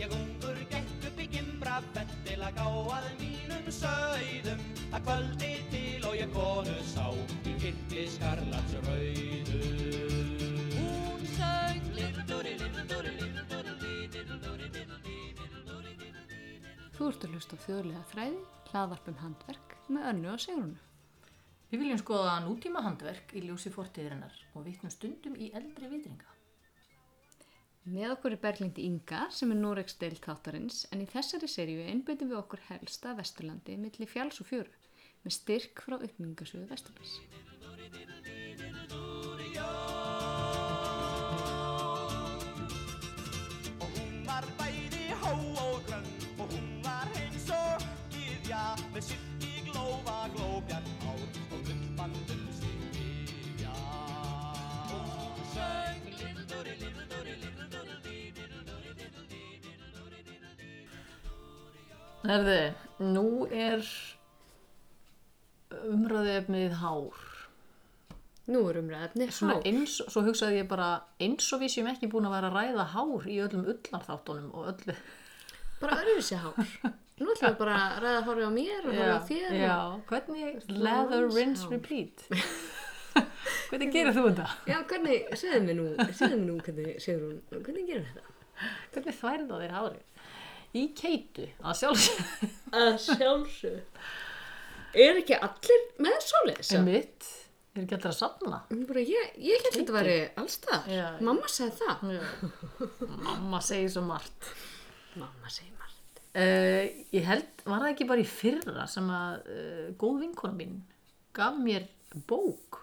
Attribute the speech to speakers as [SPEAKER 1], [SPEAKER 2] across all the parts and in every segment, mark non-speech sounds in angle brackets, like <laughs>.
[SPEAKER 1] Ég ungur gekk upp í gimbra fett til að gá að mínum sögðum að kvöldi til og ég konu sá í kitti skarlats rauðu Hún sög Little-dúri, little-dúri, little-dúri, little-dúri, little-dúri, little-dúri, little-dúri
[SPEAKER 2] Þú ert að hlusta á þjóðlega þræði, hlaðvarpum handverk með önnu og sigrunu.
[SPEAKER 3] Við viljum skoða nútíma handverk í ljósi fortíðirinnar og vitnum stundum í eldri vitringa.
[SPEAKER 2] Með okkur er Berglind Inga sem er Norex deil þáttarins en í þessari seríu einbyttum við okkur helsta Vesturlandi milli fjáls og fjöru með styrk frá uppmyngasöðu Vesturlands.
[SPEAKER 1] Og hún var bæði hó og grönn Og hún var eins og gyðja Með sitt í glófa glóbjarn ár Og gumbandum sig gyðja Og hún söng Little-dúri, little-dúri, little-dúri, little-dúri, little-dúri, little-dúri, little-dúri
[SPEAKER 3] Herði, nú er umræðefnið hár.
[SPEAKER 2] Nú er umræðafni
[SPEAKER 3] Svona eins, svo hugsaði ég bara eins og við séum ekki búin að vera að ræða hár í öllum ullarþáttunum og öllu.
[SPEAKER 2] bara öðruvísi hár. Nú ætlum við bara að ræða hárið á mér og hárið á þér.
[SPEAKER 3] já, hvernig leather
[SPEAKER 2] Lans
[SPEAKER 3] rinse
[SPEAKER 2] hár.
[SPEAKER 3] <laughs> repeat? hvernig gerir þú þetta?
[SPEAKER 2] já, hvernig, segðu mér nú, segðu mér nú hvernig, Sigrún, hvernig gerir þetta?
[SPEAKER 3] Hvernig þværða þér hárið? Í keitu, að sjálfsögðu.
[SPEAKER 2] Að sjálfsög. Er ekki allir með svoleiðis?
[SPEAKER 3] En mitt, er ekki allra að safna?
[SPEAKER 2] Bara, ég, ég held að þetta væri allstað.
[SPEAKER 3] Já, já.
[SPEAKER 2] Mamma sagði það.
[SPEAKER 3] Mamma segir svo margt.
[SPEAKER 2] Mamma segir margt.
[SPEAKER 3] Uh, ég held, var það ekki bara í fyrra sem að uh, góð vinkona mín gaf mér bók.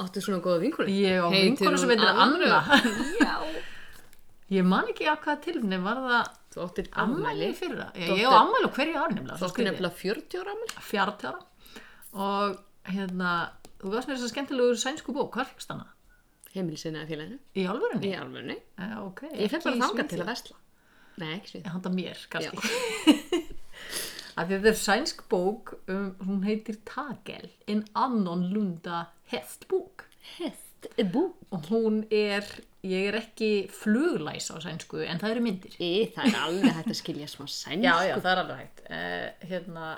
[SPEAKER 2] Áttu svona góða vinkonu?
[SPEAKER 3] Ég á vinkonu sem heitir
[SPEAKER 2] <laughs>
[SPEAKER 3] Anna. <laughs>
[SPEAKER 2] já.
[SPEAKER 3] Ég man ekki af hvaða tilfni, var það
[SPEAKER 2] Þú áttir
[SPEAKER 3] ammæli
[SPEAKER 2] ammæli.
[SPEAKER 3] í fyrra? Ég,
[SPEAKER 2] Þú
[SPEAKER 3] ég á
[SPEAKER 2] áttir-
[SPEAKER 3] ammæli á hverju ári nefnilega.
[SPEAKER 2] Þú áttir nefnilega 40 ára ammæli.
[SPEAKER 3] Fjártjára. Og hérna, þú gafst mér þess að skemmtilegu sænsku bók, hvar fyrst hana?
[SPEAKER 2] Heimilisina félaginu.
[SPEAKER 3] Í alvörunni?
[SPEAKER 2] Í alvörunni.
[SPEAKER 3] Eh, ok.
[SPEAKER 2] Ég fenn
[SPEAKER 3] ekki í
[SPEAKER 2] bara þangað til
[SPEAKER 3] Svíþjóð.
[SPEAKER 2] að vesla. Nei, ekki svið.
[SPEAKER 3] handa mér kannski <laughs> að þetta er sænsk bók um, hún heitir Tagel en annan lunda hestbók
[SPEAKER 2] Hest.
[SPEAKER 3] eh,
[SPEAKER 2] Bú.
[SPEAKER 3] og hún er ég er ekki fluglæs á sænsku en það eru myndir
[SPEAKER 2] Í, það er alveg hægt að skilja smá sænsku.
[SPEAKER 3] það er alveg hægt uh, hérna,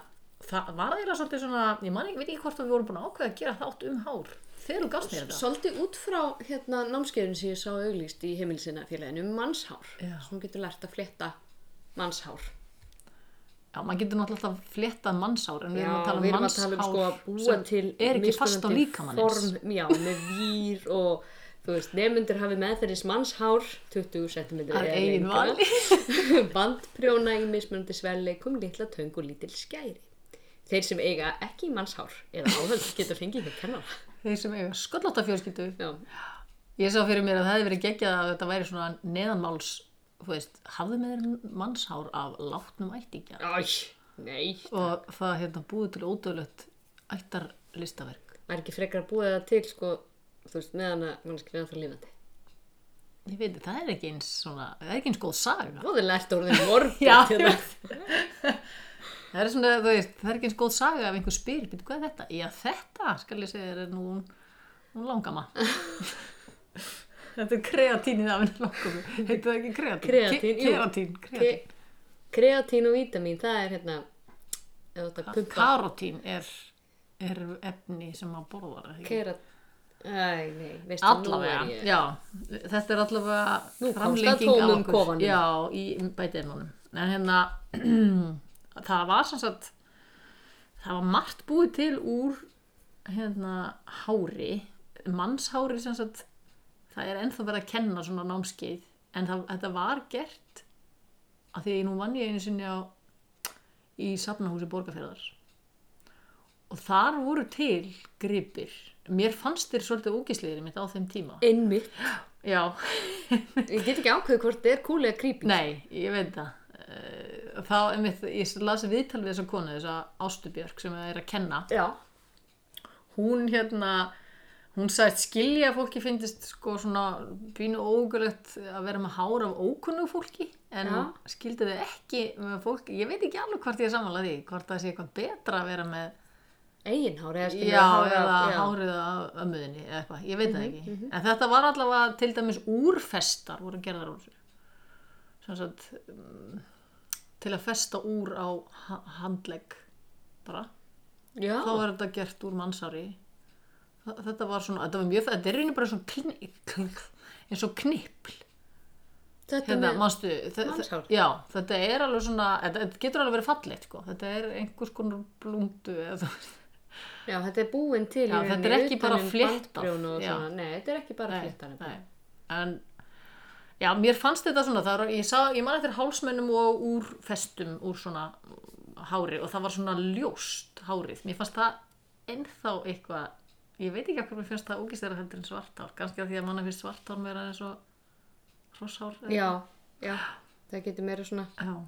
[SPEAKER 3] það var þeirra svolítið svona ég man ekki, veit ekki hvort að við vorum búin að ákveða að gera þátt um hár þegar þú gafst mér þetta
[SPEAKER 2] Svolítið út frá hérna námskeiðun sem ég sá auglýst í heimilisina félaginu um mannshár.
[SPEAKER 3] Já.
[SPEAKER 2] Svo hún getur lært að fletta mannshár.
[SPEAKER 3] já, maður getur náttúrulega alltaf fléttað mannshár en við
[SPEAKER 2] Já,
[SPEAKER 3] erum að tala
[SPEAKER 2] við
[SPEAKER 3] um
[SPEAKER 2] erum að tala um sko að
[SPEAKER 3] mannshár
[SPEAKER 2] búa til
[SPEAKER 3] er ekki fast á
[SPEAKER 2] mismunandi
[SPEAKER 3] líkamannins
[SPEAKER 2] form, Já, með vír og þú veist, nefnundur hafi meðferðis mannshár 20 cm
[SPEAKER 3] að eigin vali
[SPEAKER 2] <laughs> Bandprjóna í mismunandi svelleikum, litla töng og lítil skæri Þeir sem eiga ekki mannshár eða áhöld geta fengið hér kennar
[SPEAKER 3] þeir sem eiga sköllóta fjölskyldu
[SPEAKER 2] Já,
[SPEAKER 3] Ég sá fyrir mér að það hefði verið geggjað að þetta væri svona neðanmáls, þú veist, hafðu með þér mannshár af látnum ættingja
[SPEAKER 2] æj, nei
[SPEAKER 3] og það hérna búið til ódöðlött ættarlistaverk.
[SPEAKER 2] Það er ekki frekar að búa það til sko, þú veist, meðan að mannskina það lífandi
[SPEAKER 3] Ég veit, það er ekki eins svona, það er ekki eins góð saga.
[SPEAKER 2] Móðið lært orðin morbid
[SPEAKER 3] Já, ég
[SPEAKER 2] hérna.
[SPEAKER 3] Það er svona, þú veist, það er ekki eins góð saga af einhver spyrir, betur hvað er þetta? Já, þetta, skal ég segja, þér, er nú, nú langama. þetta er kreatínið af henni langama. Heitir það ekki kreatín?
[SPEAKER 2] Kreatín, jú.
[SPEAKER 3] jú. Kreatín, kreatín.
[SPEAKER 2] Ke- Kreatín og vítamin, það er hérna ef þú ert að pumpa
[SPEAKER 3] Karotín er, er efni sem maður borðar er það ekki?
[SPEAKER 2] Kera... Æ, nei, veistu, nú
[SPEAKER 3] Allavega,
[SPEAKER 2] er ég...
[SPEAKER 3] já, þetta er allavega
[SPEAKER 2] Nú komst að
[SPEAKER 3] framlenging á
[SPEAKER 2] tómum
[SPEAKER 3] okkur
[SPEAKER 2] kofanum.
[SPEAKER 3] Já, í bætiðinunum En hérna, <clears throat> það var sem sagt það var margt búið til úr hérna, hári mannshári sem sagt það er ennþá verið að kenna svona námskeið en það, þetta var gert að því nú vann ég einu sinni á í safnahúsi borgarferðar og þar voru til gripir mér fannst þér svolítið ógislegir mitt á þeim tíma
[SPEAKER 2] Einmitt.
[SPEAKER 3] já, <laughs>
[SPEAKER 2] Ég get ekki ákveðið hvort þið er cool eða creepy.
[SPEAKER 3] nei, ég veit það Eh, þá, einmitt, ég las viðtal við þessa konu, þessa Ástubjörg sem er að kenna
[SPEAKER 2] Já.
[SPEAKER 3] hún hérna hún sagðist skilja að fólki finnist sko svona bínu ógulegt að vera með hár af ókunnu fólki en
[SPEAKER 2] Já.
[SPEAKER 3] skildi þau ekki með fólki ég veit ekki alveg hvort ég er samanlega því hvort það sé eitthvað betra að vera með
[SPEAKER 2] Eginhár eða skilja
[SPEAKER 3] já,
[SPEAKER 2] hár af-
[SPEAKER 3] eða
[SPEAKER 2] já.
[SPEAKER 3] hárið af ömmuðinni eða eitthvað, ég veit það ekki en þetta var allavega til dæmis úrfestar voru gerðar úr þessu sem sagt, mm, til að festa úr á ha- handlegg bara
[SPEAKER 2] Já.
[SPEAKER 3] þá var þetta gert úr mannsári Þa- þetta var svona, þetta var mjög þetta er einu bara svona knipl eins og knipl
[SPEAKER 2] Þetta
[SPEAKER 3] hérna,
[SPEAKER 2] með-
[SPEAKER 3] manstu, þe- þe-
[SPEAKER 2] Mannshár?
[SPEAKER 3] já, þetta er alveg svona, þetta þetta getur alveg verið fallegt sko. þetta er einhvers konar blundu eða,
[SPEAKER 2] Já, þetta er búin til í
[SPEAKER 3] Já, þetta er
[SPEAKER 2] rauninni
[SPEAKER 3] ekki bara
[SPEAKER 2] utan um
[SPEAKER 3] fléttað.
[SPEAKER 2] bandprjóna og
[SPEAKER 3] Já.
[SPEAKER 2] svona. Nei, þetta er ekki bara hérna.
[SPEAKER 3] Nei,
[SPEAKER 2] fléttan
[SPEAKER 3] nei. en já, mér fannst þetta svona það, var- ég, sá, ég man eftir hálsmennum og úr festum úr svona hári og það var svona ljóst hárið mér fannst það ennþá eitthvað ég veit ekki af hverju mér finnst það ógistera heldur en svartár kannski að því að manna finnst svartár meira eins og hrosshár eða-
[SPEAKER 2] Já, já, það getur meira svona
[SPEAKER 3] já.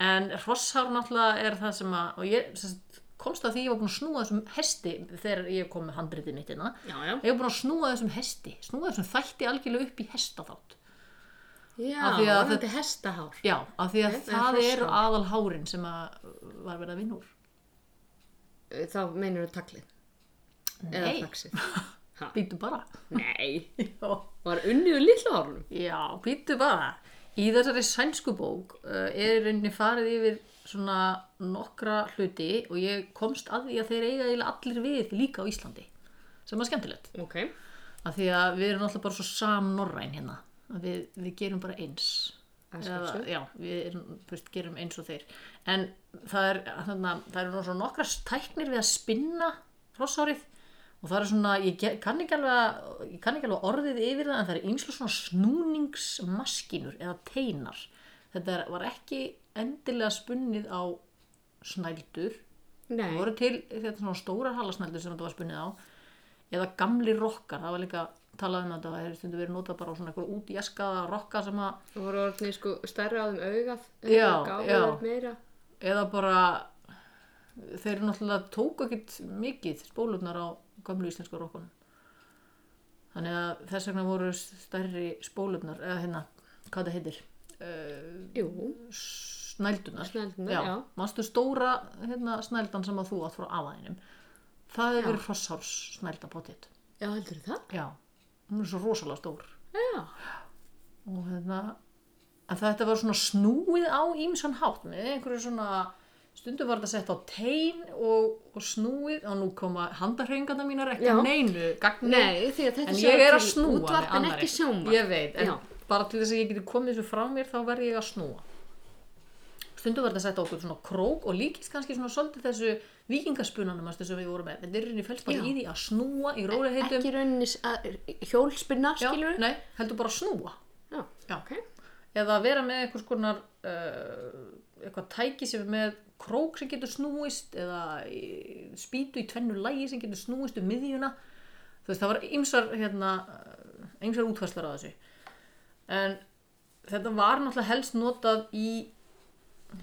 [SPEAKER 3] en hrosshár náttúrulega er það sem að og ég sem sagt, komst að því ég var búin að snúa þessum hesti þegar ég kom með handritið mitt hérna. innan
[SPEAKER 2] Já, já
[SPEAKER 3] ég var búin að snúa þessum hesti snúa þessum þætti algjörlega upp í hestaþátt
[SPEAKER 2] Já,
[SPEAKER 3] Af því að
[SPEAKER 2] það er hestahár
[SPEAKER 3] já, af því að
[SPEAKER 2] Nei, það
[SPEAKER 3] það
[SPEAKER 2] er
[SPEAKER 3] eru
[SPEAKER 2] hrosshárin.
[SPEAKER 3] aðalhárin sem að uh, var verið að vinna úr
[SPEAKER 2] Þá meinar þú taglið Eða
[SPEAKER 3] nei,
[SPEAKER 2] taxið Ha,
[SPEAKER 3] býtu bara
[SPEAKER 2] Nei,
[SPEAKER 3] já,
[SPEAKER 2] var unnið úr litla hárunum
[SPEAKER 3] já býtu bara í þessari sænsku bók uh, er í rauninni farið yfir svona nokkra hluti og ég komst að því að þeir eiga eiginlega allir við líka á Íslandi sem var skemmtilegt
[SPEAKER 2] Ok,
[SPEAKER 3] af því að við erum alltaf bara svo samnorræn hérna Að við, við gerum bara eins
[SPEAKER 2] Að
[SPEAKER 3] Eða,
[SPEAKER 2] sjálfsögðu.
[SPEAKER 3] já, við erum, pust, gerum eins og þeir en það er þannig að það eru nú svona nokkra tæknir við að spinna hrossárið og það er svona, ég ge- kann ekki alveg að- ég kann ekki alveg orðið yfir það en það er eins og svona snúningsmaskinur eða teinar þetta er, var ekki endilega spunnið á snældur
[SPEAKER 2] nei
[SPEAKER 3] Það voru til þetta svona stórar halasnældur sem þetta var spunnið á eða gamli rokkar, það var líka talað um þetta, það hefur stundum verið notað bara á svona einhver út í eskaða rokka sem að
[SPEAKER 2] Það voru orðnið sko stærra á þeim augað
[SPEAKER 3] Já, já.
[SPEAKER 2] Gáður meira
[SPEAKER 3] eða bara þeir eru náttúrulega tóku ekkit mikið spólurnar á gamlu íslensku rokkunum þannig að þess vegna voru stærri spólurnar eða hérna, hvað það heitir uh,
[SPEAKER 2] Jú,
[SPEAKER 3] snældunar
[SPEAKER 2] Snældunar, já.
[SPEAKER 3] manstu stóra hérna, snældan sem að þú átt frá afaðinum það
[SPEAKER 2] Já.
[SPEAKER 3] hefur verið hrossárs snælda potið
[SPEAKER 2] já heldur það?
[SPEAKER 3] Já, hún er svo rosalega stór
[SPEAKER 2] Já,
[SPEAKER 3] og hérna að þetta var svona snúið á ímsan hátt með einhverju svona stundum var þetta sett á tein og, og snúið og nú koma handarhengarna mínar ekki
[SPEAKER 2] Já.
[SPEAKER 3] að neinu gagni
[SPEAKER 2] nei, því að þetta
[SPEAKER 3] en
[SPEAKER 2] sjá
[SPEAKER 3] ég er að
[SPEAKER 2] til
[SPEAKER 3] snúa mig
[SPEAKER 2] útvarp en
[SPEAKER 3] annarri.
[SPEAKER 2] ekki sjóma
[SPEAKER 3] ég veit, en
[SPEAKER 2] Já.
[SPEAKER 3] bara til þess að ég geti komið þessu frá mér þá verð ég að snúa stundum var þetta sett á okkur svona krók og líkist kannski svona svolítið þessu vikingaspunanum sem við vorum með, þetta er í rauninni fælst bara
[SPEAKER 2] Já.
[SPEAKER 3] í því að snúa í rólegheitum
[SPEAKER 2] Ekki rauninni s- að- hjólspinna,
[SPEAKER 3] Já,
[SPEAKER 2] skilur
[SPEAKER 3] Nei, heldur bara að snúa
[SPEAKER 2] Já,
[SPEAKER 3] Já.
[SPEAKER 2] ok
[SPEAKER 3] eða vera með einhvers konar uh, eitthvað tæki sem er með krók sem getur snúist eða í- spýtu í tvennu lægi sem getur snúist um miðjuna þú veist það var ymsar hérna, ymsar útfæslar á þessu en þetta var náttúrulega helst notað í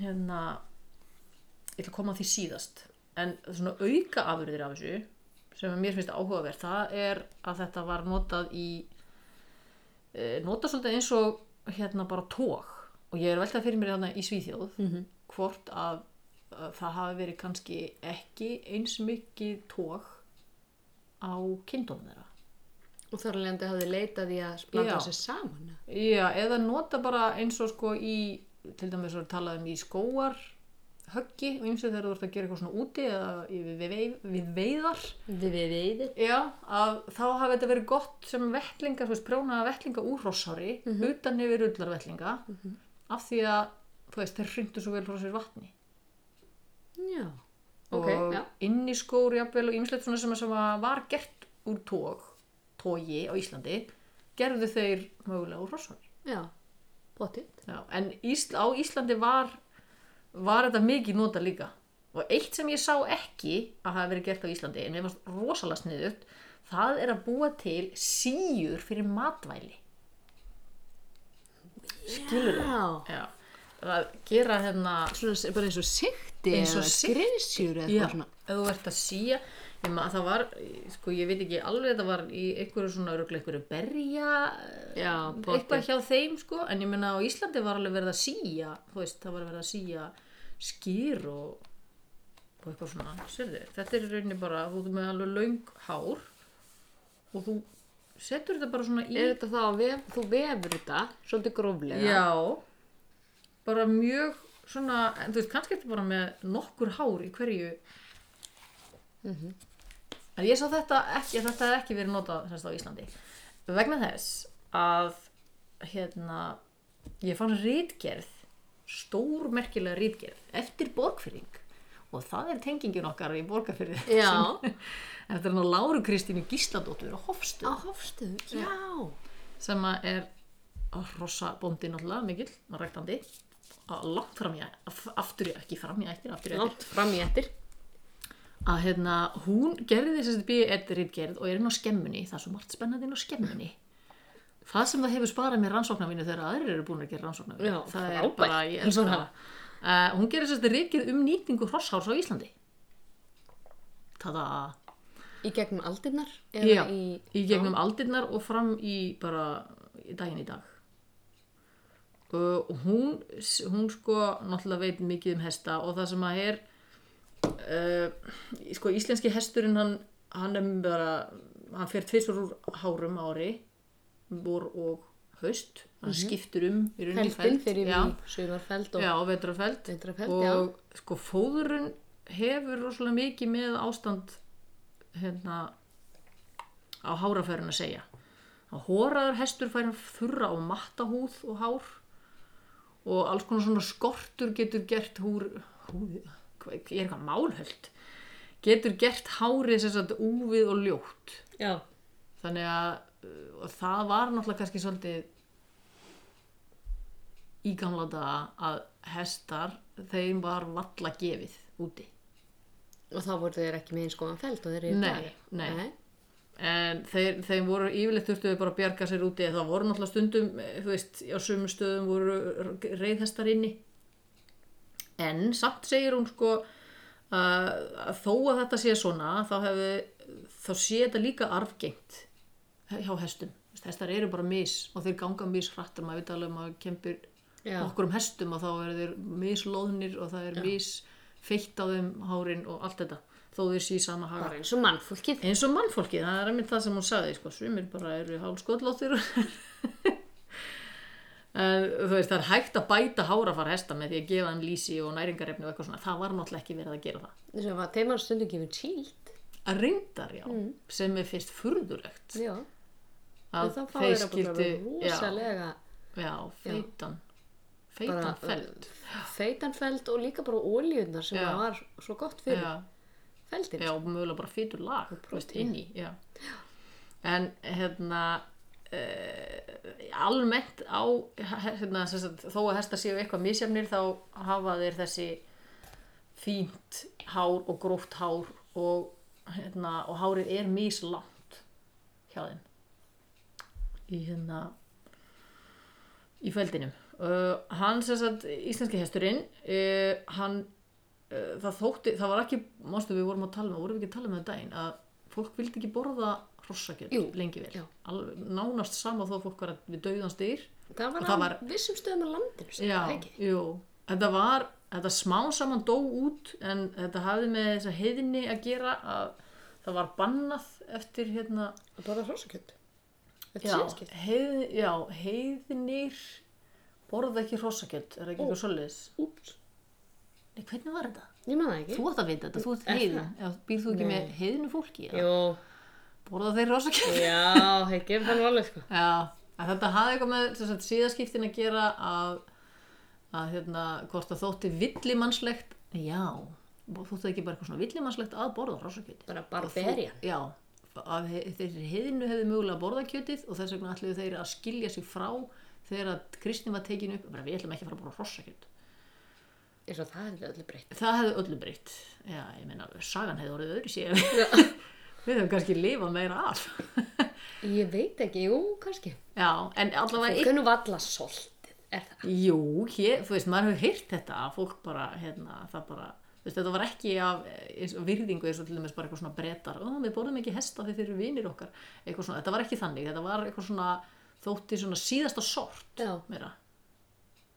[SPEAKER 3] hérna ég ætla að koma að því síðast en svona auka afurðir af þessu sem að mér finnst áhugaverð það er að þetta var notað í eh, nota svolítið eins og hérna bara tók og ég er veltað fyrir mér þarna í Svíþjóð -hmm. hvort að, að það hafi verið kannski ekki eins mikið tók á kindunum þeirra
[SPEAKER 2] Og þar alveg enda hafði leitað í að blanda
[SPEAKER 3] Já.
[SPEAKER 2] sér saman
[SPEAKER 3] Já, eða nota bara eins og sko í, til dæmis að talað um í skóar höggi og eins og þegar þú ert að gera eitthvað svona úti eða við, við, veif- við veiðar
[SPEAKER 2] Við við við
[SPEAKER 3] Já, að þá hafi þetta verið gott sem vettlingar, þú veist, prjónaða vettlinga úr hrossári,
[SPEAKER 2] Mhm.
[SPEAKER 3] utan yfir ullarvettlinga af því að, þú veist, þeir hryndu svo vel frá sér vatni
[SPEAKER 2] Já, ok,
[SPEAKER 3] og
[SPEAKER 2] já
[SPEAKER 3] inn í skór, jafnvel og ýmislegt svona sem, að- sem að var gert úr tóg, tógi á Íslandi gerðu þeir mögulega úr hrossári
[SPEAKER 2] Já, bóttið
[SPEAKER 3] Já, en Ísl, á Íslandi var var þetta mikið nota líka og eitt sem ég sá ekki að hafa verið gert á Íslandi en við varst rosalega sniðut það er að búa til síur fyrir matvæli
[SPEAKER 2] Skilur Já
[SPEAKER 3] Já. að gera hérna
[SPEAKER 2] Svona s- bara eins og sikti
[SPEAKER 3] Eins og
[SPEAKER 2] eða
[SPEAKER 3] sigti.
[SPEAKER 2] grisjur eða eitthvað svona
[SPEAKER 3] ef þú ert að síja ég ma- það var, sko ég veit ekki alveg þetta var í einhverju svona örugglega einhverju berja
[SPEAKER 2] Já,
[SPEAKER 3] eitthvað
[SPEAKER 2] bóttið
[SPEAKER 3] hjá þeim sko en ég meina á Íslandi var alveg verið að síja þú veist, það var verið að síja skýr og, og eitthvað svona Sérðu, þetta er í rauninni bara, þú ert með alveg löng hár og þú setur þetta bara svona í
[SPEAKER 2] Er þetta þá að vef, þú vefur þetta svolítið gróflega?
[SPEAKER 3] Já, bara mjög svona, en þú veist, kannski eftir bara með nokkur hár í hverju. En ég sá þetta ekki, þetta hefði ekki verið notað semst á Íslandi. Vegna þess að, hérna, ég fann rítgerð, stórmerkilega rítgerð, eftir borgfyrring. Og það er tengingin okkar í borgarfyrði.
[SPEAKER 2] Já.
[SPEAKER 3] <laughs> eftir hann á Láru Kristínu Gísladóttur á Hofstöð
[SPEAKER 2] Á hofstöðu?
[SPEAKER 3] já sem að er rossabóndi náttúrulega mikill, ræktandi að langt fram í af- aftur í ekki fram í eftir, aftur í eftir
[SPEAKER 2] Látt fram í ettir.
[SPEAKER 3] að hérna, hún gerði þess að býja eitt rítgerð E og er inn á skemmunni það er svo margt spennandi inn á skemmunni það sem það hefur sparað mér rannsóknarvinnu þegar aðrir eru búin að gera rannsóknarvinnu
[SPEAKER 2] Já,
[SPEAKER 3] það er
[SPEAKER 2] frábært.
[SPEAKER 3] bara, ég elskar það uh, hún gerði þess að rítgerð um nýtingu hrosshárs á Íslandi tada
[SPEAKER 2] Í gegnum aldirnar? eða
[SPEAKER 3] Já,
[SPEAKER 2] Í...
[SPEAKER 3] í, gegnum aldirnar og fram í bara í daginn í dag. Og hún, hún sko náttúrulega veit mikið um hesta og það sem að er, uh, sko íslenski hesturinn hann, hann er bara, hann fer tvisvar úr hárum á ári, vor og haust, hann skiptur um í rauninni
[SPEAKER 2] Feldin Mhm.
[SPEAKER 3] feld.
[SPEAKER 2] fyrir
[SPEAKER 3] Já.
[SPEAKER 2] við sumarfeld og
[SPEAKER 3] Já, vetrafeld.
[SPEAKER 2] Vetrarfeld,
[SPEAKER 3] og
[SPEAKER 2] já.
[SPEAKER 3] sko fóðurinn hefur rosalega mikið með ástand hérna á hárafærin að segja. Að hóraður hestur fær hann þurra á mattahúð og hár og alls konar svona skortur getur gert húr, húð, hvað, ég er eitthvað málhöld, getur gert hárið sem sagt úfið og ljótt
[SPEAKER 2] Já.
[SPEAKER 3] þannig að uh, og það var náttúrulega kannski svolítið í gamla daga að hestar þeim var valla gefið úti
[SPEAKER 2] Og þá voru þeir ekki með eins góðan feld og þeir eru í
[SPEAKER 3] Nei,
[SPEAKER 2] dag.
[SPEAKER 3] nei. en þeir, þeim voru yfirleitt þurftu þau bara að bjarga sér úti það voru náttúrulega stundum, eh, þú veist, á sumum stöðum voru reyðhestar inni en samt segir hún sko að, að þó að þetta sé svona þá, hefði, þá sé þetta líka arfgengt hjá hestum Þú veist, hestar eru bara mis og þeir ganga mis hratt og maður veit alveg að maður kempir
[SPEAKER 2] Já.
[SPEAKER 3] okkur um hestum og þá eru þeir mislóðnir og það er mis feitt á þeim hárin og allt þetta þó þeir sé sama hagar
[SPEAKER 2] Bara eins og mannfólkið.
[SPEAKER 3] eins og mannfólki, það er einmitt það sem hún sagði sko, sumir bara eru hálskotlóttir <laughs> En, þú veist, það er hægt að bæta hárafar hesta með því að gefa þeim lýsi og næringarefni og eitthvað svona, það var náttúrulega ekki verið að gera það
[SPEAKER 2] Þess að þeim var stundum gefið tílt.
[SPEAKER 3] að reyndar, já,
[SPEAKER 2] Mm.
[SPEAKER 3] sem er fyrst furðulegt
[SPEAKER 2] Já.
[SPEAKER 3] að
[SPEAKER 2] En það fá
[SPEAKER 3] þeir
[SPEAKER 2] þeir að
[SPEAKER 3] skildu já,
[SPEAKER 2] rosalega
[SPEAKER 3] já, feitan feitan
[SPEAKER 2] bara, uh,
[SPEAKER 3] feld
[SPEAKER 2] feitan feld og líka bara ólíunar sem
[SPEAKER 3] Já.
[SPEAKER 2] var svo gott uh, fyrir
[SPEAKER 3] já,
[SPEAKER 2] feldin.
[SPEAKER 3] já, og mögulega bara fýtur lag þú veist,
[SPEAKER 2] prótein.
[SPEAKER 3] inn í já. en hérna uh, almennt á hérna, sem sagt, þó að hesta séu eitthvað misjafnir þá hafa þeir þessi fínt hár og gróft hár og, hérna, og hárið er mislangt hjá þeim í hérna í feldinum uh, hann sem sagt, íslenski hesturinn uh, hann uh, það þótti, það var ekki, mástu við vorum að tala um það vorum við ekki að tala um það daginn að fólk vildi ekki borða hrossakjöld
[SPEAKER 2] Jú,
[SPEAKER 3] lengi vel
[SPEAKER 2] já.
[SPEAKER 3] Alveg, nánast sama þó að fólk var að- við dauðan styr
[SPEAKER 2] Það var,
[SPEAKER 3] Og það
[SPEAKER 2] á
[SPEAKER 3] var-
[SPEAKER 2] vissum stöðum á landinu sem
[SPEAKER 3] já,
[SPEAKER 2] það ekki.
[SPEAKER 3] jú þetta var, þetta smá saman dó út en þetta hafði með þessa heiðinni að gera að það var bannað eftir hérna
[SPEAKER 2] Að borða hrósakjöld. Þetta
[SPEAKER 3] já,
[SPEAKER 2] síðanskipt.
[SPEAKER 3] heið, já, heiðinir borða ekki hrossakjöld er það ekki eitthvað svoleiðis
[SPEAKER 2] Úps.
[SPEAKER 3] Nei, hvernig var þetta?
[SPEAKER 2] Ég man það ekki.
[SPEAKER 3] Þú átt að vita þetta, þú ert
[SPEAKER 2] Er
[SPEAKER 3] heiðin Já, Býr þú ekki
[SPEAKER 2] Nei.
[SPEAKER 3] með heiðinu fólki? eða?
[SPEAKER 2] Jú,
[SPEAKER 3] Borða þeir hrossakjöld?
[SPEAKER 2] já, það gerir það nú alveg sko.
[SPEAKER 3] Já, að þetta hafði eitthvað með sem sagt, síðaskiptin að gera að, að hérna, hvort það þótti villimannslegt, já þótti ekki bara eitthvað svona villimannslegt að borða hrossakjöti.
[SPEAKER 2] Bara barberjan.
[SPEAKER 3] Já, að he- þeir heiðinu hefðu mögulega borða kjötið og þess vegna ætluðu þeir að skilja sig frá þegar að kristni var tekin upp, bara við ætlum ekki að fara að borða hrossakjöt.
[SPEAKER 2] Eins og það hefði öllu breytt.
[SPEAKER 3] Það hefði öllu breytt. Já, ég meina, sagan hefði orðið öðru sér. <laughs> við hefum kannski lifað meira af.
[SPEAKER 2] Ég veit ekki, jú, kannski.
[SPEAKER 3] já, en allavega
[SPEAKER 2] Hvernig valla soltið er það?
[SPEAKER 3] Jú, hér, þú veist, maður hefur heyrt þetta að fólk bara, hérna, það bara þú veist, þetta var ekki af eins og virðingu eins og til dæmis bara eitthvað svona brettar og við borðum ekki hesta þegar þeir eru vinir okkar eitthvað svona, þetta var ekki þannig, þetta var eitthvað svona þótti svona síðasta sort
[SPEAKER 2] Já.
[SPEAKER 3] meira.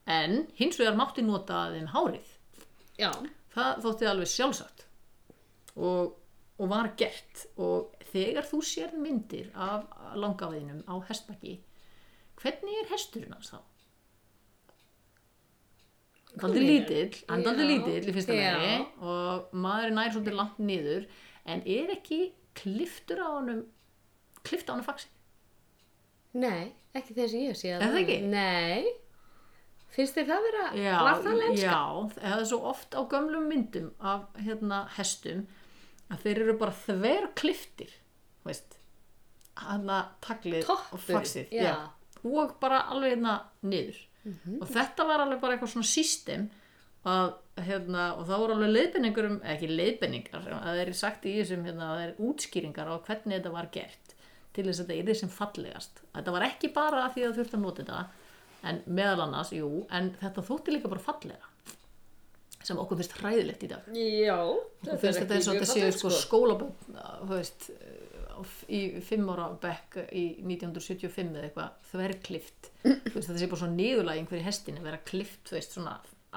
[SPEAKER 3] en hins vegar mátti nota þeim hárið
[SPEAKER 2] Já,
[SPEAKER 3] það þótti alveg sjálfsagt og og var gert og þegar þú sér myndir af langafiðinum á hestbakki hvernig er hesturinn hans þá? Daldi
[SPEAKER 2] Kúlíður.
[SPEAKER 3] lítill, hann daldi
[SPEAKER 2] Já.
[SPEAKER 3] lítill í fyrsta
[SPEAKER 2] Já.
[SPEAKER 3] vegi og maður er nær svolítið langt niður en er ekki kliftur á honum klift á honum faxi?
[SPEAKER 2] Nei, ekki þeir sem ég sé
[SPEAKER 3] Er það ekki?
[SPEAKER 2] Nei Finnst þér það vera
[SPEAKER 3] Já,
[SPEAKER 2] Var það lenska?
[SPEAKER 3] já, það er svo oft á gömlum myndum af hérna, hestum að þeir eru bara þver kliftir veist hana taglið og
[SPEAKER 2] Toppur,
[SPEAKER 3] faxið
[SPEAKER 2] já.
[SPEAKER 3] og bara alveg hérna niður og þetta var alveg bara eitthvað svona system að, hérna, og það voru alveg leiðbenningur um, eða ekki leiðbenningar að það er sagt í þessum hérna, að það er útskýringar á hvernig þetta var gert til þess að þetta er sem fallegast að þetta var ekki bara af því að þurfti að nota þetta en meðal annars, jú en þetta þótti líka bara fallega sem okkur finnst hræðilegt í dag
[SPEAKER 2] Já
[SPEAKER 3] og finnst þetta eins og þetta séu sko skólabönd þú veist uh, á f- í fimm ára bekk í 1975 eða eitthvað þverklift þú veist þetta sé bara svona niðurlæging fyrir hestin að vera klift, þú veist, svona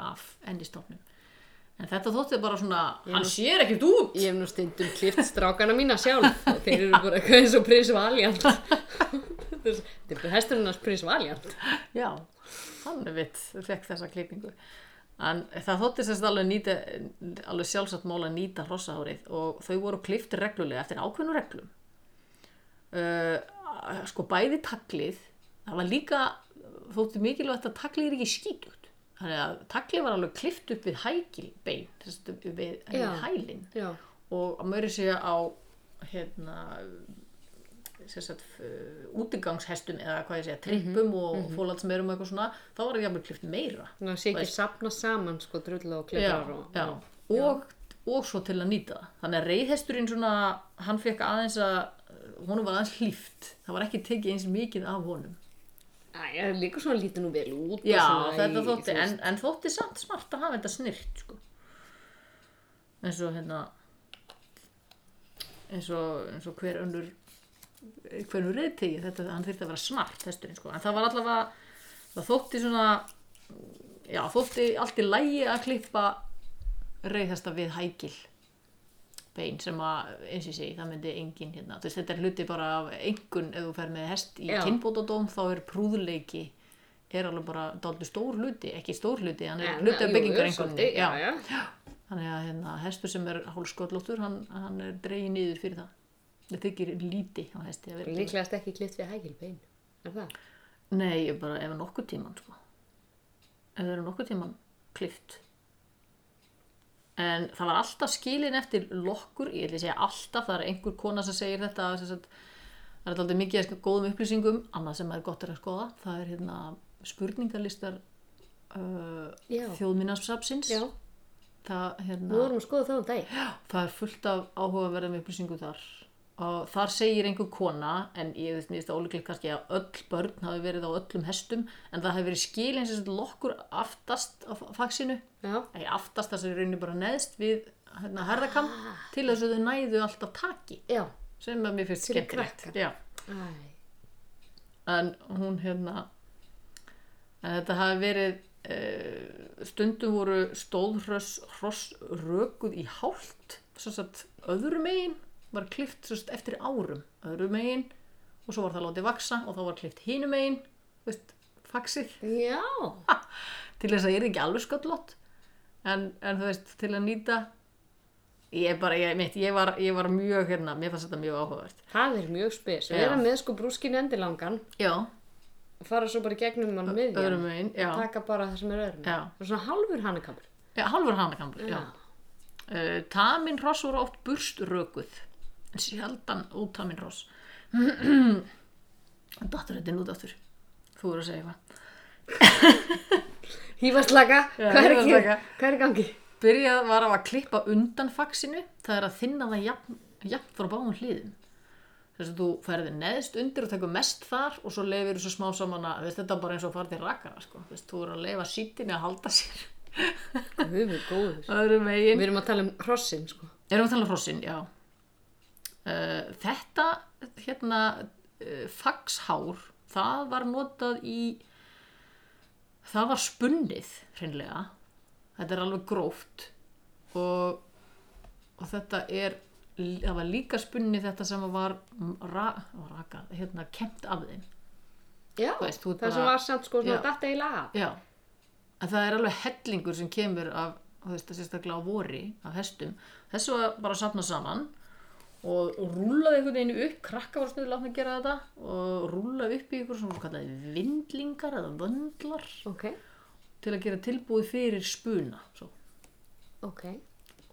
[SPEAKER 3] af endistofnum en þetta þótti bara svona, hann sér ekkert út
[SPEAKER 2] Ég hef nú stundum klift strákana mína sjálf og þeir eru bara <laughs> eitthvað eins og prins <laughs> Valjant Þetta er bara hesturinn hans prins Valjant
[SPEAKER 3] já, hann er vitt fekk þessa klippingu en það þótti sérst alveg nýta alveg sjálfsagt mál að nýta hrossahárið og þau voru klift reglulega eftir ákveðnum reglum uh, sko bæði taglið það var líka þótti mikilvægt að taglið er ekki skítugt þannig að taglið var alveg klift upp við hækilbein sérst, upp við
[SPEAKER 2] Já.
[SPEAKER 3] hælinn
[SPEAKER 2] Já,
[SPEAKER 3] og að maður sé á hérna sem sagt, f- útigangshestum eða hvað ég segja, trippum og mm -hmm. fólatsmeirum og eitthvað svona, þá var það jafnvel klift meira
[SPEAKER 2] þannig að sé ekki
[SPEAKER 3] Veist.
[SPEAKER 2] sapna saman sko drull og
[SPEAKER 3] já,
[SPEAKER 2] klefar og
[SPEAKER 3] já. Og, og svo til að nýta það þannig að reyðhesturinn svona hann fekk aðeins að honum var aðeins hlýft það var ekki tekið eins mikið af honum
[SPEAKER 2] Æ, það líka svona lítið nú vel út og
[SPEAKER 3] já,
[SPEAKER 2] svona
[SPEAKER 3] þetta
[SPEAKER 2] í-
[SPEAKER 3] þótti,
[SPEAKER 2] þú veist.
[SPEAKER 3] en, en þótti samt smart að hafa þetta snirt sko. eins og hérna eins og, eins og hver önnur hver önnur reyðtegi þetta, hann þyrfti að vera smart hesturinn sko. en það var allavega það þótti svona já, þótti allt í lægi að klippa reyðhesta við hækil bein sem að eins og ég segi, það myndi engin hérna, þú veist, þetta er hluti bara af engun ef þú fer með hest í
[SPEAKER 2] Já.
[SPEAKER 3] kynbótadóm þá er prúðleiki er alveg bara dálítið stór hluti, ekki stór hluti hann er
[SPEAKER 2] En,
[SPEAKER 3] hluti af
[SPEAKER 2] jú,
[SPEAKER 3] byggingar
[SPEAKER 2] jú,
[SPEAKER 3] einhvern
[SPEAKER 2] svolítið, Já, já
[SPEAKER 3] þannig að hérna, hestur sem er hálskollóttur hann, hann er dregin niður fyrir það það þykir líti á hesti að vera ekki-
[SPEAKER 2] Líklegast ekki klift við hægilbein Er það?
[SPEAKER 3] Nei, ég bara ef nokkuð tíman sko. ef það eru nokkuð tíman klift en það var alltaf skilin eftir lokkur, ég ætla að segja alltaf það er einhver kona sem segir þetta sem sagt, það er alltaf mikið af góðum upplýsingum annað sem er gott er að skoða það er hérna spurningalistar uh,
[SPEAKER 2] Já.
[SPEAKER 3] þjóðminnarsapsins
[SPEAKER 2] Já,
[SPEAKER 3] það,
[SPEAKER 2] nú
[SPEAKER 3] hérna,
[SPEAKER 2] vorum við að skoða það um dag
[SPEAKER 3] það er fullt af áhugaverðum upplýsingu þar og þar segir einhver kona en ég veist mér þetta ólíklegt kannski að öll börn hafi verið á öllum hestum en það hefur verið skilin sem sagt lokkur aftast á fa- faxinu
[SPEAKER 2] Já,
[SPEAKER 3] ei aftast þess að rauninni bara neðst við hérna herðakam
[SPEAKER 2] Ah.
[SPEAKER 3] til þess að þau næðu alltaf taki
[SPEAKER 2] já
[SPEAKER 3] sem að mér finnst
[SPEAKER 2] Fyrir
[SPEAKER 3] skemmtilegt
[SPEAKER 2] krakka.
[SPEAKER 3] Já.
[SPEAKER 2] Æ,
[SPEAKER 3] en hún hérna en þetta hafi verið uh, stundum voru stóðhross hross rökuð í hálft svo sagt öðrum megin var klift svo sagt eftir árum öðrum megin og svo var það látið vaksa og þá var klift hinum megin þú veist, faxið
[SPEAKER 2] já
[SPEAKER 3] til þess að ég er ekki alveg sköllótt en, en þú veist, til að nýta ég bara, ég, mitt, ég, var, ég var mjög hérna, mér fannst þetta mjög áhugavert
[SPEAKER 2] Það er mjög spes
[SPEAKER 3] Já.
[SPEAKER 2] Við erum með sko brúskin endilangan
[SPEAKER 3] já,
[SPEAKER 2] fara svo bara í gegnum hann miðjan
[SPEAKER 3] öðrum megin já,
[SPEAKER 2] taka bara það sem er öðrum
[SPEAKER 3] Já.
[SPEAKER 2] og svona hálfur hannakamur
[SPEAKER 3] já hálfur hanakambur, já. Uh, tamin hross voru oft burströkuð en sjaldan ótamin <clears throat> hross Dáttur þetta er nú dáttur Þú voru að segja eitthvað
[SPEAKER 2] hýfastlaka,
[SPEAKER 3] Já,
[SPEAKER 2] hvað er, ekki,
[SPEAKER 3] hýfastlaka.
[SPEAKER 2] hvað er í gangi
[SPEAKER 3] Byrjað var á að klippa undan faxinu það er að þinna það jafn, jafn frá báum hliðum þess að þú ferði neðst undir og tekur mest þar og svo leifir þessu smá saman að veist, þetta er bara eins og að fara til rakara sko. Þú veist, þú voru að leifa sítinu að halda sér
[SPEAKER 2] við erum góður
[SPEAKER 3] öðrum megin
[SPEAKER 2] við erum að tala um hrossin sko
[SPEAKER 3] Erum við að tala um hrossin, já. Uh, þetta, hérna, uh, faxhár, það var notað í, það var spunnið, hreinlega. Þetta er alveg gróft og, og þetta er það var líka spunni þetta sem var ra, raka, hérna, kemt af þeim
[SPEAKER 2] Já,
[SPEAKER 3] Þú veist, þú
[SPEAKER 2] það
[SPEAKER 3] bara-
[SPEAKER 2] sem var samt sko svona
[SPEAKER 3] Já.
[SPEAKER 2] datta í lag.
[SPEAKER 3] Já, en það er alveg hellingur sem kemur af, þú veist, sérstaklega á vori, af hestum. Þessu var bara að sapna saman og rúlaði einhvern veginn upp, krakka var snuður látna að gera þetta og rúlaði upp í ykkur sem voru kallaði vindlingar eða vöndlar
[SPEAKER 2] Ok,
[SPEAKER 3] til að gera tilbúið fyrir spuna. Svo.
[SPEAKER 2] ok.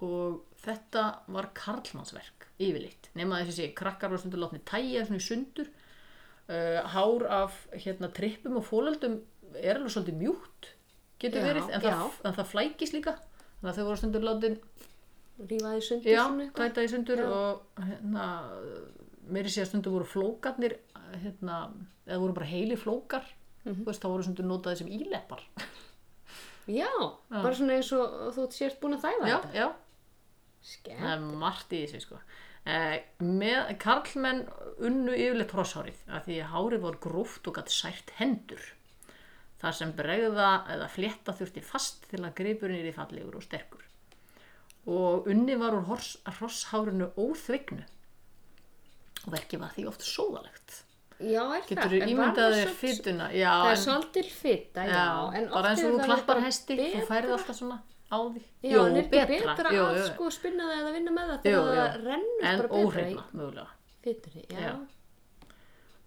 [SPEAKER 3] Og þetta var karlmannsverk, yfirleitt. Nefna þessi sé, krakkar var snuður látna tæja svona í sundur. Uh, hár af hérna, trippum og fólöldum er alveg svolítið mjúkt, getur
[SPEAKER 2] Já,
[SPEAKER 3] verið, en
[SPEAKER 2] já.
[SPEAKER 3] það, en það flækist líka þannig að þau voru stundur látin
[SPEAKER 2] Rífaði sundur
[SPEAKER 3] já,
[SPEAKER 2] svona eitthvað.
[SPEAKER 3] tæta í sundur
[SPEAKER 2] Já.
[SPEAKER 3] og hérna meiri sé að stundur voru flókarnir hérna, eða voru bara heili flókar þú veist, þá voru stundur notaði sem íleppar
[SPEAKER 2] Já, bara svona eins og þú sért búin að þæfa
[SPEAKER 3] já,
[SPEAKER 2] þetta.
[SPEAKER 3] já, það
[SPEAKER 2] Skemmt.
[SPEAKER 3] er margt í þessu sko Eh, með karlmenn unnu yfirleitt hrosshárið af því að hárið var gróft og gætt sært hendur þar sem bregða eða flétta þurfti fast til að gripurinn er í fallegur og sterkur og unni var úr hors- hrosshárinu óþvignu og verkið var því oft sóðalegt
[SPEAKER 2] Já, er
[SPEAKER 3] getur
[SPEAKER 2] það.
[SPEAKER 3] þú
[SPEAKER 2] En var það
[SPEAKER 3] ímyndaðið
[SPEAKER 2] samt-
[SPEAKER 3] fytuna já,
[SPEAKER 2] Það er
[SPEAKER 3] en-
[SPEAKER 2] svolítil fitta, já.
[SPEAKER 3] já,
[SPEAKER 2] en
[SPEAKER 3] bara
[SPEAKER 2] oft
[SPEAKER 3] eins
[SPEAKER 2] er
[SPEAKER 3] og þú
[SPEAKER 2] það
[SPEAKER 3] klappar
[SPEAKER 2] bara
[SPEAKER 3] hesti þú
[SPEAKER 2] betra.
[SPEAKER 3] færið alltaf svona á því
[SPEAKER 2] Já, en er ekki betra,
[SPEAKER 3] Jú,
[SPEAKER 2] að
[SPEAKER 3] jú, jú.
[SPEAKER 2] sko spinna það eða vinna með það þegar
[SPEAKER 3] Jú,
[SPEAKER 2] það
[SPEAKER 3] jú.
[SPEAKER 2] rennur
[SPEAKER 3] en
[SPEAKER 2] bara betra
[SPEAKER 3] óhreinna mögulega
[SPEAKER 2] í fytri. Já,
[SPEAKER 3] Já.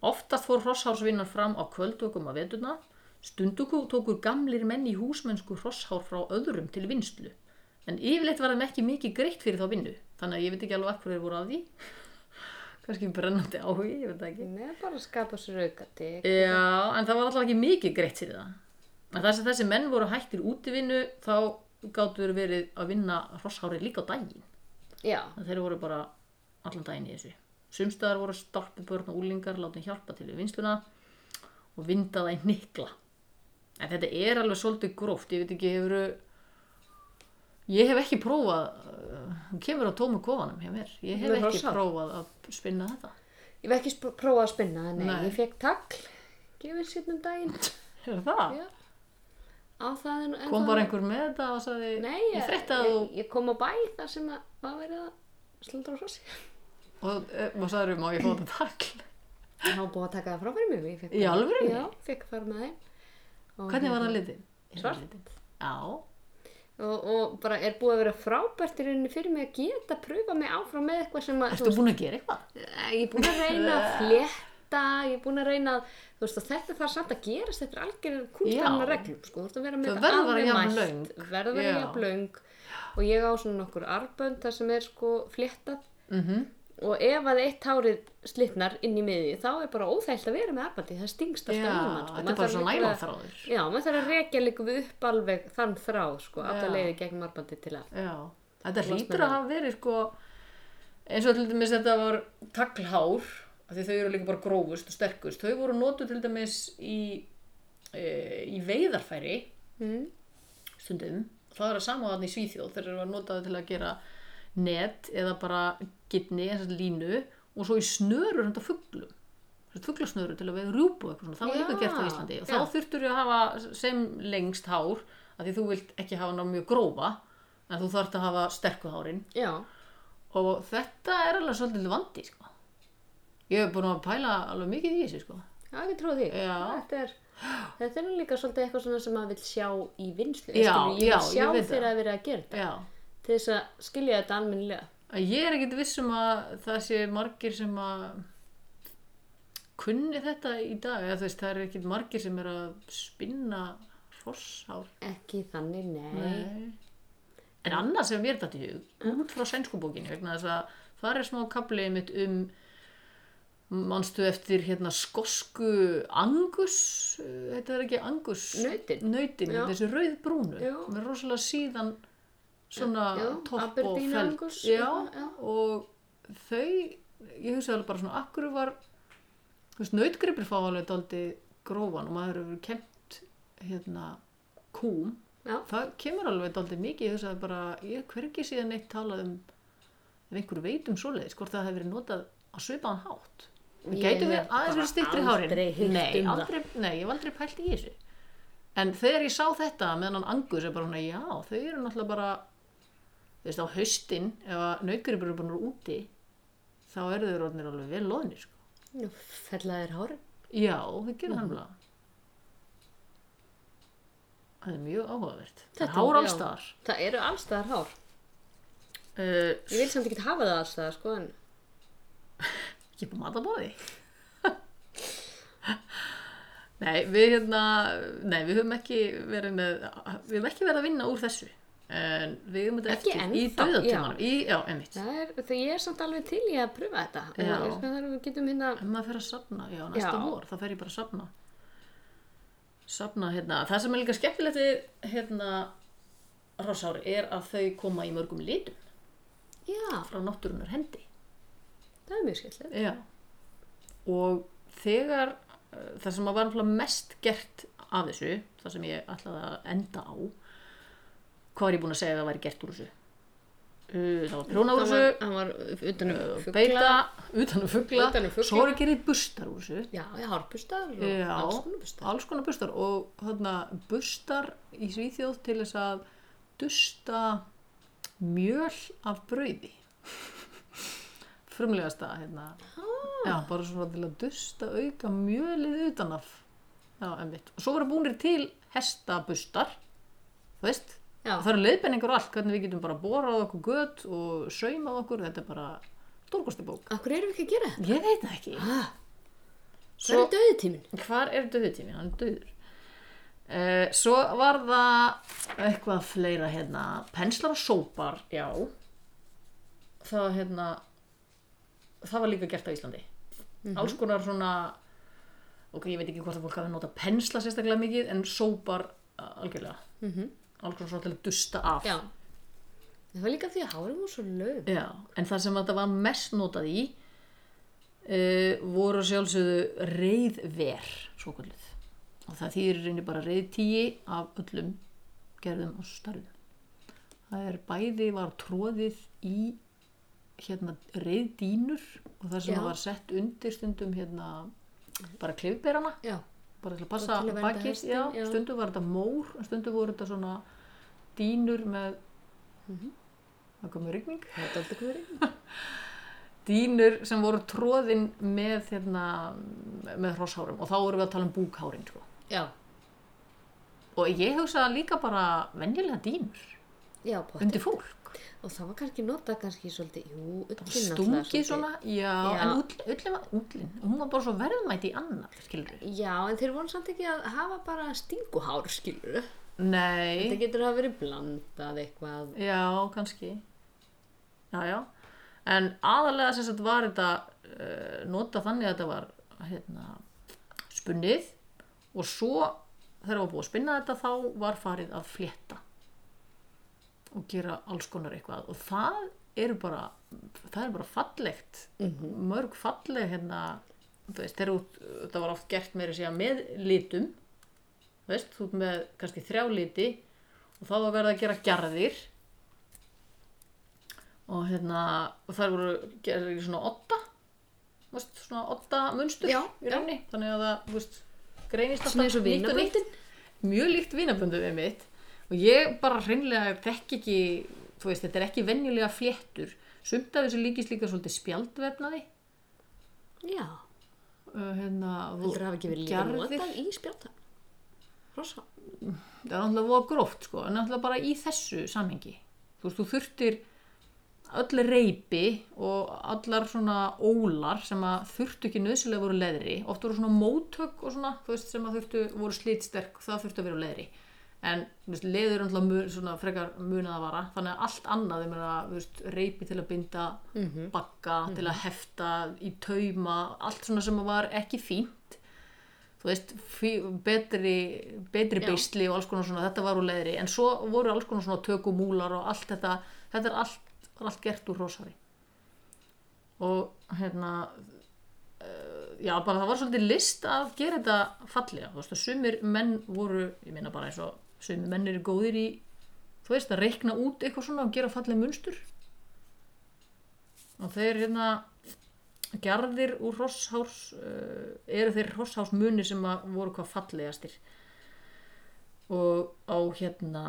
[SPEAKER 3] Oftast fór hrosshársvinnan fram á kvöldökum að veturna. Stunduku tókur gamlir menn í húsmennsku hrosshár frá öðrum til vinslu. En yfirleitt var þeim ekki mikið greitt fyrir þá vinnu. Þannig að ég veit ekki alveg af hverju þeir voru að því. <laughs> Kanski brennandi áhugi, ég veit það ekki.
[SPEAKER 2] neða bara að skapa sér aukati.
[SPEAKER 3] Já, en það var alltaf ekki mikið greitt fyrir það. En þess að þessi menn voru hættir útivinnu, þá gáttu þeir verið að vinna hrosshári líka á daginn.
[SPEAKER 2] Já,
[SPEAKER 3] En þeir voru bara allan daginn í þessu. Sumstaðar voru stálpu börn og úlingar látin hjálpa til við vinsluna og vindaða í nikla. En þetta er alveg svolítið gróft, ég veit ekki, hefur... Ég hef ekki prófað, uh, hún kemur á tómu kofanum hjá mér, ég hef
[SPEAKER 2] Með
[SPEAKER 3] ekki
[SPEAKER 2] hrossar?
[SPEAKER 3] prófað að spinna þetta.
[SPEAKER 2] ég hef ekki sp- prófað að spinna það, nei,
[SPEAKER 3] Nei.
[SPEAKER 2] ég fekk tagl, gefið sérnum daginn.
[SPEAKER 3] Er það?
[SPEAKER 2] Já, á það en, en
[SPEAKER 3] Kom
[SPEAKER 2] það-
[SPEAKER 3] bara einhver með þetta og sagði,
[SPEAKER 2] Nei,
[SPEAKER 3] ég frétta að
[SPEAKER 2] ég,
[SPEAKER 3] þú,
[SPEAKER 2] ég, ég kom á bæ þar sem að var verið að slundra á hrossi.
[SPEAKER 3] og, eh, og sagði, má ég fá þetta takl?
[SPEAKER 2] Það var búið að taka það frá fyrir mig. ég fékk
[SPEAKER 3] Í
[SPEAKER 2] bara-
[SPEAKER 3] alvörunni?
[SPEAKER 2] Já, fekk að fara með þeim. Og
[SPEAKER 3] Hvernig var
[SPEAKER 2] hérna-
[SPEAKER 3] það litið?
[SPEAKER 2] Svart.
[SPEAKER 3] Já,
[SPEAKER 2] og, og bara er búið að vera frábært í rauninni fyrir mig að geta pröfa mig áfram með eitthvað sem að þú
[SPEAKER 3] ertu búin að gera eitthvað?
[SPEAKER 2] Eh, ég er búin að reyna
[SPEAKER 3] <laughs>
[SPEAKER 2] að flétta ég er búin að reyna að þú veist og þetta þarf samt að gerast þetta er algjörður kúltanna
[SPEAKER 3] Já.
[SPEAKER 2] reglum sko, þú veist að vera með
[SPEAKER 3] Þau
[SPEAKER 2] þetta
[SPEAKER 3] verða að vera
[SPEAKER 2] alveg
[SPEAKER 3] jafn
[SPEAKER 2] mælt,
[SPEAKER 3] löng.
[SPEAKER 2] verða að vera
[SPEAKER 3] Já.
[SPEAKER 2] jafn löng og ég á svona nokkur arbönd þar sem er sko fléttað
[SPEAKER 3] Mhm.
[SPEAKER 2] -hmm. og ef að eitt hárið slitnar inn í miði þá er bara óþælt að vera með arbandi það stingst alltaf
[SPEAKER 3] Já,
[SPEAKER 2] um hann sko.
[SPEAKER 3] þetta er
[SPEAKER 2] Maður
[SPEAKER 3] bara
[SPEAKER 2] þarf
[SPEAKER 3] svo
[SPEAKER 2] líka að-
[SPEAKER 3] nælonþráður.
[SPEAKER 2] já, maður þarf að rekja líka við upp alveg þann þráð sko, alltaf
[SPEAKER 3] Já.
[SPEAKER 2] leiði gegn arbandi til að
[SPEAKER 3] Já, þetta
[SPEAKER 2] varst með
[SPEAKER 3] hlýtur
[SPEAKER 2] það.
[SPEAKER 3] að hafa verið sko eins og til dæmis þetta var taglhár af því þau eru líka bara grófust og sterkust þau voru notuð til dæmis í e, í veiðarfæri
[SPEAKER 2] mm.
[SPEAKER 3] stundum það er að sama þarna í Svíþjóð þeir eru að notaðu til að gera net eða bara gitni, eins og línu og svo í snörur handa fuglum fugglasnöru til að veiða rjúpu og eitthvað svona, það var
[SPEAKER 2] Já,
[SPEAKER 3] líka gert á Íslandi og þá
[SPEAKER 2] já.
[SPEAKER 3] þurftur að hafa sem lengst hár af því þú vilt ekki hafa ná mjög grófa en þú þarft að hafa sterku hárin
[SPEAKER 2] já,
[SPEAKER 3] og þetta er alveg svolítið vandi sko. ég hef búin að pæla alveg mikið í þessu sko.
[SPEAKER 2] Já, ekki trúið því.
[SPEAKER 3] Já.
[SPEAKER 2] Þetta er, þetta er nú líka svolítið eitthvað svona sem maður vil sjá í vinslu.
[SPEAKER 3] Já,
[SPEAKER 2] Skilurðu,
[SPEAKER 3] já,
[SPEAKER 2] ég vil sjá
[SPEAKER 3] ég veit
[SPEAKER 2] þegar
[SPEAKER 3] það.
[SPEAKER 2] að vera að gera þetta.
[SPEAKER 3] já
[SPEAKER 2] Til þess að skilja þetta almennilega.
[SPEAKER 3] Að ég er ekkit viss um að það sé margir sem að kunni þetta í dag eða þú veist, það er ekkit margir sem er að spinna hrosshár
[SPEAKER 2] Ekki þannig, nei.
[SPEAKER 3] en annað sem mér þetta í hug út frá sænskubókinu vegna þess að það er smá kaplið mitt um manstu eftir hérna skosku angus eh, þetta er ekki angus
[SPEAKER 2] Nautin.
[SPEAKER 3] nautin
[SPEAKER 2] Já.
[SPEAKER 3] þessi rauð brúnu
[SPEAKER 2] Já.
[SPEAKER 3] með rosalega síðan svona
[SPEAKER 2] Já,
[SPEAKER 3] topp og
[SPEAKER 2] Aberdeen
[SPEAKER 3] feld
[SPEAKER 2] Angus,
[SPEAKER 3] já,
[SPEAKER 2] eitthvað, já.
[SPEAKER 3] og þau ég hugsaði alveg bara svona akkur var þú veist, nautgripir fá alveg daldi grófan og maður hefur kemmt hérna kúm
[SPEAKER 2] Já.
[SPEAKER 3] það kemur alveg daldi mikið ég hugsaði bara, ég hef hvergi síðan neitt talað um ef einhver veit um svoleiðis hvort það hefur verið notað á svipaðan hátt það
[SPEAKER 2] Ég
[SPEAKER 3] gætu
[SPEAKER 2] hef
[SPEAKER 3] verið aðeins
[SPEAKER 2] bara
[SPEAKER 3] verið stittri hárin
[SPEAKER 2] aldrei heyrt
[SPEAKER 3] nei,
[SPEAKER 2] um það.
[SPEAKER 3] aldrei, nei, ég hef aldrei pælt í þessu en þegar ég sá þetta meðan hann angus er bara svona, já, þau eru náttúrulega bara þú veist á haustin ef að naukur eru búin að úti þá eru þau rótnir alveg vel loðnir sko.
[SPEAKER 4] Nú, fellaði þér hár.
[SPEAKER 3] já, þau gerir
[SPEAKER 4] Mhm.
[SPEAKER 3] það nefnilega það er mjög áhugavert það er
[SPEAKER 4] Þetta-
[SPEAKER 3] hár
[SPEAKER 4] já.
[SPEAKER 3] allstaðar
[SPEAKER 4] Það eru allstaðar hár.
[SPEAKER 3] uh,
[SPEAKER 4] Ég vil samt ekki hafa það allstaðar, sko, en
[SPEAKER 3] ekki på matabóði <laughs> Nei, við hérna nei, við höfum ekki verið með við höfum ekki verið að vinna úr þessu en við höfum þetta
[SPEAKER 4] Ekki
[SPEAKER 3] eftir í
[SPEAKER 4] ennþá,
[SPEAKER 3] döðatímanum í, já, einmitt
[SPEAKER 4] það er, það ég er samt alveg til í að pröfa þetta.
[SPEAKER 3] Já.
[SPEAKER 4] Það er, það er, við getum hérna,
[SPEAKER 3] ef maður fer að safna, já, næsta
[SPEAKER 4] Já.
[SPEAKER 3] vor þá fer ég bara að safna safna, hérna, það sem er líka skemmtilegt við hérna rossári er að þau koma í mörgum litum
[SPEAKER 4] já,
[SPEAKER 3] frá náttúrunar hendi
[SPEAKER 4] það er mjög skemmtilegt.
[SPEAKER 3] Já. Og þegar uh, það sem að var náttúrulega mest gert af þessu, það sem ég ætlaði að enda á, hvað var ég búin að segja að það væri gert úr þessu? Uh, það var prjóna úr
[SPEAKER 4] Það var,
[SPEAKER 3] þessu,
[SPEAKER 4] hann var utan um
[SPEAKER 3] uh,
[SPEAKER 4] fugla.
[SPEAKER 3] beita, utan um fugla,
[SPEAKER 4] Utan um fugla.
[SPEAKER 3] svo eru gerðið bustar úr þessu.
[SPEAKER 4] Já, já, hárbustar og
[SPEAKER 3] Já,
[SPEAKER 4] alls konar bustar.
[SPEAKER 3] alls konar bustar og þarna bustar í Svíþjóð til þess að dusta mjöl af brauði frumlegasta hérna já, bara svona til að dusta auka mjölið utanaf já, einmitt og svo voru búinir til hestabustar þú veist
[SPEAKER 4] Já.
[SPEAKER 3] það eru leiðbenningur og allt hvernig við getum bara borað okkur gött og saumað okkur þetta er bara stórkosti bók
[SPEAKER 4] Akkur erum við ekki að gera þetta?
[SPEAKER 3] ég veit það ekki
[SPEAKER 4] Ah, það
[SPEAKER 3] Svo-
[SPEAKER 4] er döðutíminn.
[SPEAKER 3] Hvar er döðutíminn? Hann er döður. Uh, svo var það eitthvað fleira hérna, penslar og sópar, já. Það, hérna, það var líka gert á Íslandi. Alls konar svona, ok, ég veit ekki hvort að fólk hafi notað pensla sérstaklega mikið, en sópar uh, algjörlega. Alls konar svona til að dusta af.
[SPEAKER 4] Já. Það var líka því að hárum var svo lög.
[SPEAKER 3] Já, en það sem þetta var mest notað í uh, voru að sjálfsögðu reyðver, svo kvöldið. Og það þýðir í reyni bara reyðtíi af öllum gerðum og starfum. Það er bæði var tróðið í hérna reyðdínur og það sem
[SPEAKER 4] Já.
[SPEAKER 3] var sett undir stundum hérna bara klifberana
[SPEAKER 4] Já.
[SPEAKER 3] bara til að passa
[SPEAKER 4] Bara til að vernda
[SPEAKER 3] bakið,
[SPEAKER 4] hestinn,
[SPEAKER 3] já,
[SPEAKER 4] já.
[SPEAKER 3] stundum var þetta mór en stundum voru þetta svona dínur með
[SPEAKER 4] Mhm.
[SPEAKER 3] það komið rigning
[SPEAKER 4] Það er dálítið hverjum.
[SPEAKER 3] dýnur sem voru tróðin með, hérna, með hrosshárum og þá vorum við að tala um búkhárin sko.
[SPEAKER 4] Já.
[SPEAKER 3] og ég hugsaði líka bara venjulega dýnur
[SPEAKER 4] Já, pott.
[SPEAKER 3] undir fólk
[SPEAKER 4] Og það var kannski notað kannski svolítið, jú, ullin
[SPEAKER 3] stungið svona, já,
[SPEAKER 4] Já.
[SPEAKER 3] en ull, ullin var ullin hún var bara svo verðmætt í annar skilur við
[SPEAKER 4] Já, en þeir voru samt ekki að hafa bara stinguhár, skilur þau. Þetta
[SPEAKER 3] nei,
[SPEAKER 4] getur að verið blandað eitthvað.
[SPEAKER 3] já, kannski já, já en aðalega sem sagt var þetta uh, nota þannig að þetta var hérna, spunnið og svo þegar var búið að spinna þetta þá var farið að flétta og gera alls konar eitthvað og það eru bara það er bara fallegt
[SPEAKER 4] Mhm.
[SPEAKER 3] mörg falleg hérna þú veist, þegar út, það var oft gert meira að segja með litum þú veist, þú ert með kannski þrjá liti og þá var verið að gera gerðir og hérna og þar voru gerðir í svona otta þú veist, svona otta munstur
[SPEAKER 4] Já,
[SPEAKER 3] í rauninni, þannig að það þú veist, greinist
[SPEAKER 4] Svona eins og
[SPEAKER 3] nýtt og nýtt. mjög líkt vinaböndum við mitt og ég bara hreinlega þekki ekki þú veist, þetta er ekki venjulega fléttur sumt af þessu líkist líka svolítið spjaldvefnaði
[SPEAKER 4] Já.
[SPEAKER 3] uh, hérna, þú
[SPEAKER 4] Heldur það hafi ekki verið líka
[SPEAKER 3] gerðir-
[SPEAKER 4] notað í spjálta. Rosa.
[SPEAKER 3] það er náttúrulega voða gróft sko, en náttúrulega bara í þessu samhengi þú veist, þú þurftir öll reypi og allar svona ólar sem að þurftu ekki nöðsilega voru leðri oft voru svona mótök og svona þú veist, sem að þurftu voru slítsterk það þurftu að vera úr leðri en þú veist, leður er náttúrulega mun, svona frekar munið að vara þannig að allt annað er meira þú veist, reypi til að binda bakka til að hefta í tauma allt svona sem var ekki fínt þú veist, fí, betri, betri beisli og alls konar svona, þetta var úr leðri en svo voru alls konar svona tökumúlar og allt þetta, þetta er allt, var allt gert úr rosari og hérna uh, já, bara það var svolítið list að gera þetta fallega, þú veist, að sumir menn voru, ég meina bara eins og sumir menn eru góðir í, þú veist, að reikna út eitthvað svona og gera falleg munstur og þeir hérna gerðir úr hrosshárs uh, eru þeir hrosshársmunir sem að voru hvað fallegastir og á hérna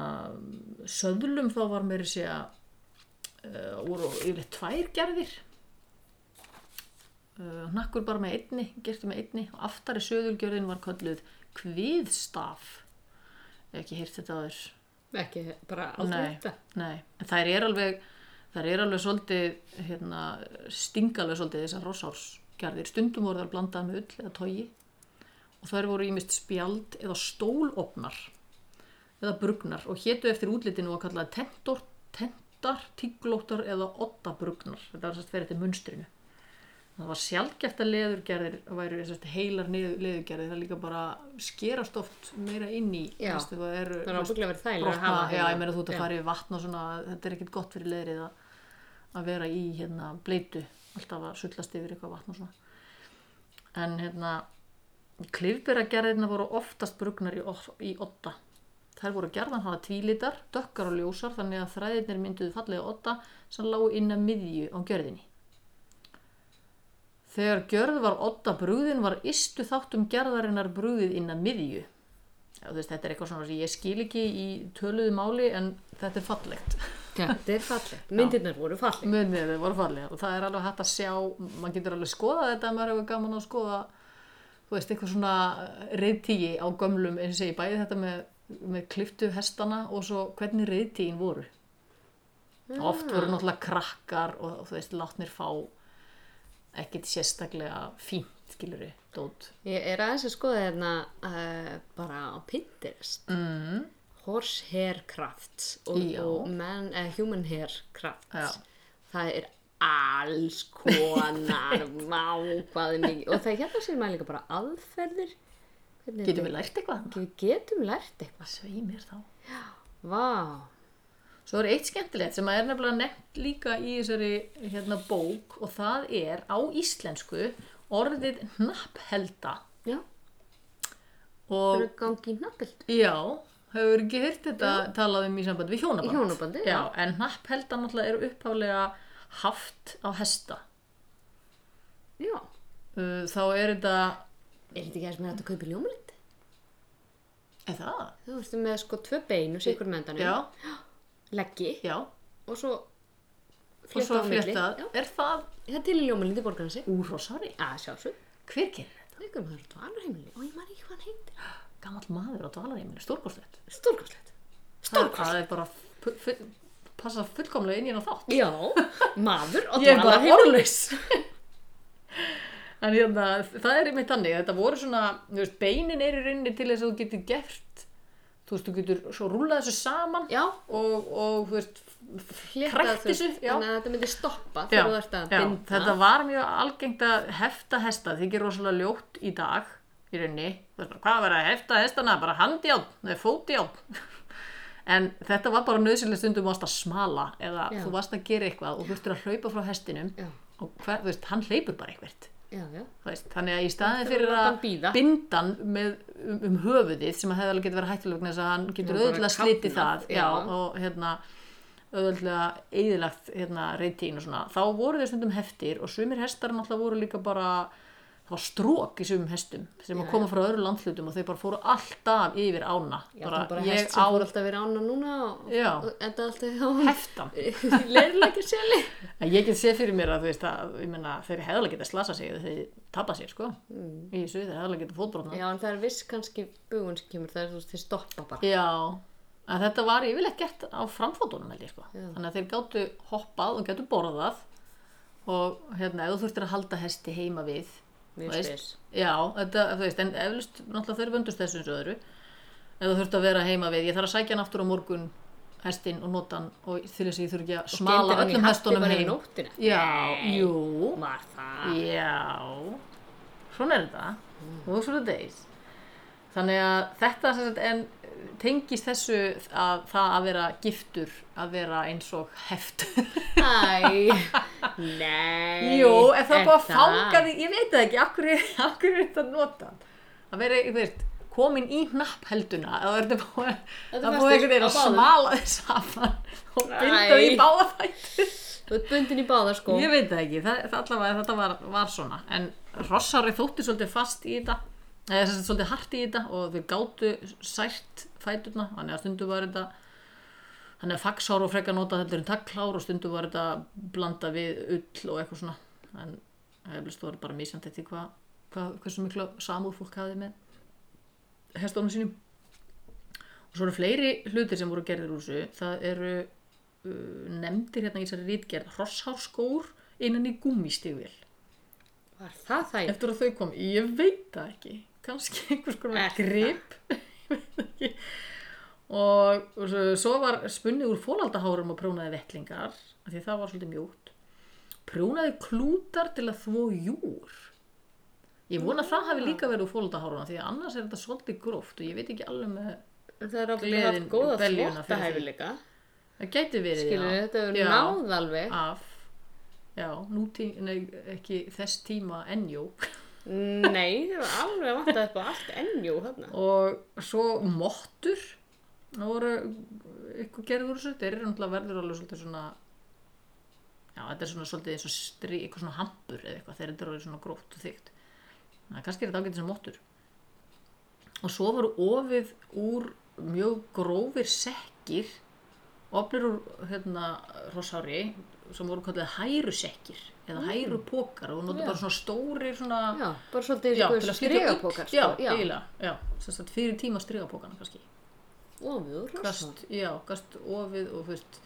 [SPEAKER 3] söðlum þá var meiri segja uh, voru yfirleitt tvær gerðir uh, hnakkur bara með einni gerti með einni og aftari söðulgjörðin var kölluð kviðstaf ég hef ekki heyrt þetta aður
[SPEAKER 2] Ekki bara
[SPEAKER 3] Nei.
[SPEAKER 2] aldrei þetta.
[SPEAKER 3] nei, en þær er alveg þær er alveg svolítið hérna, stingalega svolítið þessar rossársgerðir stundum voru þær blandað með ull eða tógi og þær voru ímist spjald eða stólopnar eða brugnar og hétu eftir útlitinu að kalla tentor, tentar, tíglóttar eða ottabrugnar. Þetta var sérst fyrir eftir munstrinu. Það var sjálfgeft að leðurgerðir væru sérst, heilar niður- leðurgerðir, það líka bara skerast oft meira inn í.
[SPEAKER 2] Já.
[SPEAKER 3] veistu, það eru,
[SPEAKER 2] Það er ábygglega verið þægilega að
[SPEAKER 3] brotna,
[SPEAKER 2] hafa
[SPEAKER 3] já,
[SPEAKER 2] heilar.
[SPEAKER 3] ég meina þú ert
[SPEAKER 2] Já.
[SPEAKER 3] að fara í vatn og svona, þetta er ekkert gott fyrir leðrið að, að vera í hérna bleitu, alltaf að sullast yfir eitthvað vatn og svona. En hérna, klifberagerðirna voru oftast brugnar í, off- í otta. Þær voru gerðan hafa tvílitar, dökkar og ljósar, þannig að þræðirnir mynduðu fallega otta sem lágu inn að miðju á gjörðinni. Þegar gjörð var otta brúðin var istu þáttum gerðarinnar brúðið inn að miðju. Já, þú veist, þetta er eitthvað svona sem ég skil ekki í töluðu máli en þetta er fallegt.
[SPEAKER 2] Þetta er fallegt. Myndirnar voru fallegt.
[SPEAKER 3] Mjög mjög, þau voru fallega og það er alveg hægt að sjá, maður getur alveg skoða þetta ef maður hefur gaman að skoða, þú veist, eitthvað svona reyðtígi á gömlum eins og ég segi, bæði þetta með, með kliftu hestana og svo hvernig reyðtígin voru. Oft voru náttúrulega krakkar og þú veist, látnir fá ekkit sérstaklega fínt, skilur við, dót.
[SPEAKER 2] Ég er aðeins að skoða hérna uh, bara á Pinterest. Mm. Horse hair crafts og,
[SPEAKER 3] Já.
[SPEAKER 2] og man, uh, human hair crafts.
[SPEAKER 3] Já.
[SPEAKER 2] Það er alls
[SPEAKER 3] <laughs>
[SPEAKER 2] konar má hvað er mikið. Og það er hérna sér maður líka bara aðferðir. Hvernig
[SPEAKER 3] Getum
[SPEAKER 2] þetta-
[SPEAKER 3] við lært eitthvað? þarna?
[SPEAKER 2] Við getum lært eitthvað.
[SPEAKER 3] Hvað svei mér þá?
[SPEAKER 2] Vá.
[SPEAKER 3] Svo er eitt skemmtilegt sem er nefnilega nefnt líka í þessari hérna, bók og það er á íslensku orðið hnapphelda
[SPEAKER 2] Já, það
[SPEAKER 3] og
[SPEAKER 2] eru gangi í nafnbild.
[SPEAKER 3] já, hefur ekki heyrt þetta talað um í sambandi við
[SPEAKER 2] Í
[SPEAKER 3] hjónaband.
[SPEAKER 2] hjónabandi,
[SPEAKER 3] já.
[SPEAKER 2] já.
[SPEAKER 3] En hnapphelda náttúrulega er upphálega haft á hesta.
[SPEAKER 2] Já.
[SPEAKER 3] Uh, Þá er þetta,
[SPEAKER 2] Er þetta ekki aðeins með þetta að kaupa í ljómulit?
[SPEAKER 3] er það?
[SPEAKER 2] Þú ertu með sko tvö bein og sikur með endanum.
[SPEAKER 3] Já,
[SPEAKER 2] Leggi
[SPEAKER 3] já.
[SPEAKER 2] og svo
[SPEAKER 3] Og svo
[SPEAKER 2] flétta á milli.
[SPEAKER 3] fléttað.
[SPEAKER 2] Já.
[SPEAKER 3] Er það
[SPEAKER 2] Það er til í ljómulit í borgarnasi.
[SPEAKER 3] úrrósari?
[SPEAKER 2] Að sjálfsög.
[SPEAKER 3] Hver gerir þetta?
[SPEAKER 2] Það er ykkur maður á dvalarheimili. Og ég maður ekki hvað hann heitir.
[SPEAKER 3] Gammal maður á dvalarheiminu, stórkostlegt.
[SPEAKER 2] Stórkostlegt.
[SPEAKER 3] Það það er bara fu- fu- passa fullkomlega inn í hann þátt.
[SPEAKER 2] Já, <laughs> maður á
[SPEAKER 3] Ég er bara
[SPEAKER 2] dvalarheimili.
[SPEAKER 3] orðlaus. <laughs> En hérna, það er einmitt þannig, þetta voru svona, þú veist, beinin er í rauninni til þess að þú getur gert, þú veist, þú getur svo rúlað þessu saman
[SPEAKER 2] Já.
[SPEAKER 3] og, og, þú veist,
[SPEAKER 2] Flétta
[SPEAKER 3] krækt
[SPEAKER 2] þú veist,
[SPEAKER 3] þessu, já.
[SPEAKER 2] Þannig að þetta myndi stoppa
[SPEAKER 3] Já,
[SPEAKER 2] þegar þú ert að
[SPEAKER 3] já,
[SPEAKER 2] binda.
[SPEAKER 3] þetta var mjög algengt að hefta hesta, þykir rosalega ljótt í dag í rauninni, þú veist bara hvað var að hefta hestana, bara handjáln, neða fótjáln <laughs> en þetta var bara nöðsynlega stundum varst að smala eða
[SPEAKER 2] Já.
[SPEAKER 3] þú varst að gera eitthvað og þurftur að hlaupa frá hestinum
[SPEAKER 2] Já.
[SPEAKER 3] og hver, þú veist, hann hleypur bara eitthvert
[SPEAKER 2] Já, já.
[SPEAKER 3] þú veist, þannig að í staðin
[SPEAKER 2] Þetta
[SPEAKER 3] fyrir
[SPEAKER 2] var
[SPEAKER 3] að
[SPEAKER 2] láta hann bíða.
[SPEAKER 3] bindan með, um, um höfuðið sem hefði alveg getið verið hættulegna þess að hann getur
[SPEAKER 2] Já, bara
[SPEAKER 3] auðvitað slitið
[SPEAKER 2] kafnað,
[SPEAKER 3] það
[SPEAKER 2] já.
[SPEAKER 3] já, og hérna auðvitað eðilagt hérna, reytín og svona, þá voru þeir stundum heftir og sumir hestar náttúrulega voru líka bara það var strók í sumum hestum sem að koma frá öðru landhlutum og þeir bara fóru alltaf yfir ána
[SPEAKER 2] Já, bara, bara
[SPEAKER 3] ég
[SPEAKER 2] hest sem
[SPEAKER 3] á
[SPEAKER 2] fór alltaf verið ána núna og,
[SPEAKER 3] Já.
[SPEAKER 2] og enda alltaf
[SPEAKER 3] heftan
[SPEAKER 2] á
[SPEAKER 3] <laughs>
[SPEAKER 2] leiruleikir seli.
[SPEAKER 3] En ég get séð fyrir mér að þú veist að ég meina, þeir hefðalega geta slasa sig þegar þeir tapa sér sko í þessu, þeir hefðalega geta fótbrotna
[SPEAKER 2] Mm. Já, en það er viss kannski bugun sem kemur, það er þú veist, þeir stoppa bara.
[SPEAKER 3] Já, að þetta var yfirleitt gert á framfótunum held ég sko.
[SPEAKER 2] Já.
[SPEAKER 3] Þannig að þeir gáttu hoppað og gáttu borðað og hérna, ef þú þurftir að halda hesti heima við,
[SPEAKER 2] Mjög
[SPEAKER 3] þú veist,
[SPEAKER 2] spes.
[SPEAKER 3] já, þetta, þú veist, en eflust, náttúrulega þeir vöndust þessu eins og öðru, ef þú þurft að vera heima við, ég þarf að sækja hann aftur á morgun hestinn og nota hann og til þess að ég þurf ekki að smala
[SPEAKER 2] Geymdir hann í
[SPEAKER 3] öllum
[SPEAKER 2] hatti
[SPEAKER 3] hestunum
[SPEAKER 2] bara yfir
[SPEAKER 3] heim.
[SPEAKER 2] nóttina.
[SPEAKER 3] Já, jú.
[SPEAKER 2] Var það.
[SPEAKER 3] Já, svona er þetta
[SPEAKER 2] Mm.
[SPEAKER 3] og svona deys þannig að þetta sem sagt, en tengist þessu að það að vera giftur að vera eins og heft <laughs>
[SPEAKER 2] Æ, nei.
[SPEAKER 3] Jú, en það er bara að
[SPEAKER 2] þetta-
[SPEAKER 3] fanga því ég veit það ekki, af hverju, <laughs> af hverju er þetta notað að vera, ég veit, komin í hnapphelduna eða er þetta búið
[SPEAKER 2] Þetta
[SPEAKER 3] það er
[SPEAKER 2] fæst
[SPEAKER 3] búið
[SPEAKER 2] þér
[SPEAKER 3] einhvern veginn
[SPEAKER 2] á
[SPEAKER 3] að
[SPEAKER 2] báðum.
[SPEAKER 3] smala <laughs> því saman og binda
[SPEAKER 2] Æ.
[SPEAKER 3] því í báða þætti
[SPEAKER 2] Þú ert bundin í báðar sko.
[SPEAKER 3] Ég veit það ekki, það, það allavega þetta var, var svona en rossari þótti svolítið fast í þetta eða sem sagt svolítið hart í þetta og þau gátu sært fæturna þannig að stundu var þetta Þannig að fagsár og frekar nota þetta en takkklár og stundum var þetta blanda við ull og eitthvað svona. En eflust var bara mísjandi eftir hvað, hvað, hversu mikla samúð fólk hafði með hestónum sínum. Og svo eru fleiri hlutir sem voru gerðir úr þessu. Það eru uh, nefndir hérna í þessari rítgerð hrossárskór innan í gummistigvél.
[SPEAKER 4] Var það það?
[SPEAKER 3] Eftir að þau kom, ég veit það ekki. Kanski einhvers konar
[SPEAKER 4] Er það?
[SPEAKER 3] grip. <laughs> Ég veit ekki. Og, og svo- svo var spunnið úr fólaldahárum og prjónaði vettlingar, af því það var svolítið mjúkt. Prjónaði klútar til að þvó júr. Ég vona að það hafi líka verið úr fólaldahárum, því að annars er þetta svolítið gróft og ég veit ekki alveg með...
[SPEAKER 4] Það er alveg
[SPEAKER 3] Gleðin,
[SPEAKER 4] haft góða
[SPEAKER 3] beljuna fyrir því.
[SPEAKER 4] þvottahæfileika.
[SPEAKER 3] Það gæti verið,
[SPEAKER 4] Skilur, þetta er
[SPEAKER 3] Já.
[SPEAKER 4] náð alveg.
[SPEAKER 3] Af, já, nútí, nei, ekki þess tíma ennjó.
[SPEAKER 4] Nei, það var alveg vantað upp á allt ennjú þarna.
[SPEAKER 3] og svo mottur það voru eitthvað gerður úr þessu, þeir eru náttúrulega verður alveg svolítið svona já, þetta er svona svolítið eins og strí, eitthvað svona hampur eða eitthvað, þeir eru alveg svona grótt og þygt þannig að kannski er þetta ágætið sem mottur og svo voru ofið úr mjög grófir sekkir ofnir úr hérna rosári sem voru kallið hærusekkir eða hærupokar og nota bara svona stórir svona
[SPEAKER 4] Mm. Já, bara svolítið
[SPEAKER 3] Já,
[SPEAKER 4] eins og
[SPEAKER 3] til að stríða
[SPEAKER 4] strigapókar.
[SPEAKER 3] Já,
[SPEAKER 4] sko. já.
[SPEAKER 3] eiginlega, já, sem sagt fyrir tíma strigapókana kannski
[SPEAKER 4] Ómjög rosa.
[SPEAKER 3] Gast, já, gast ofið og fyrst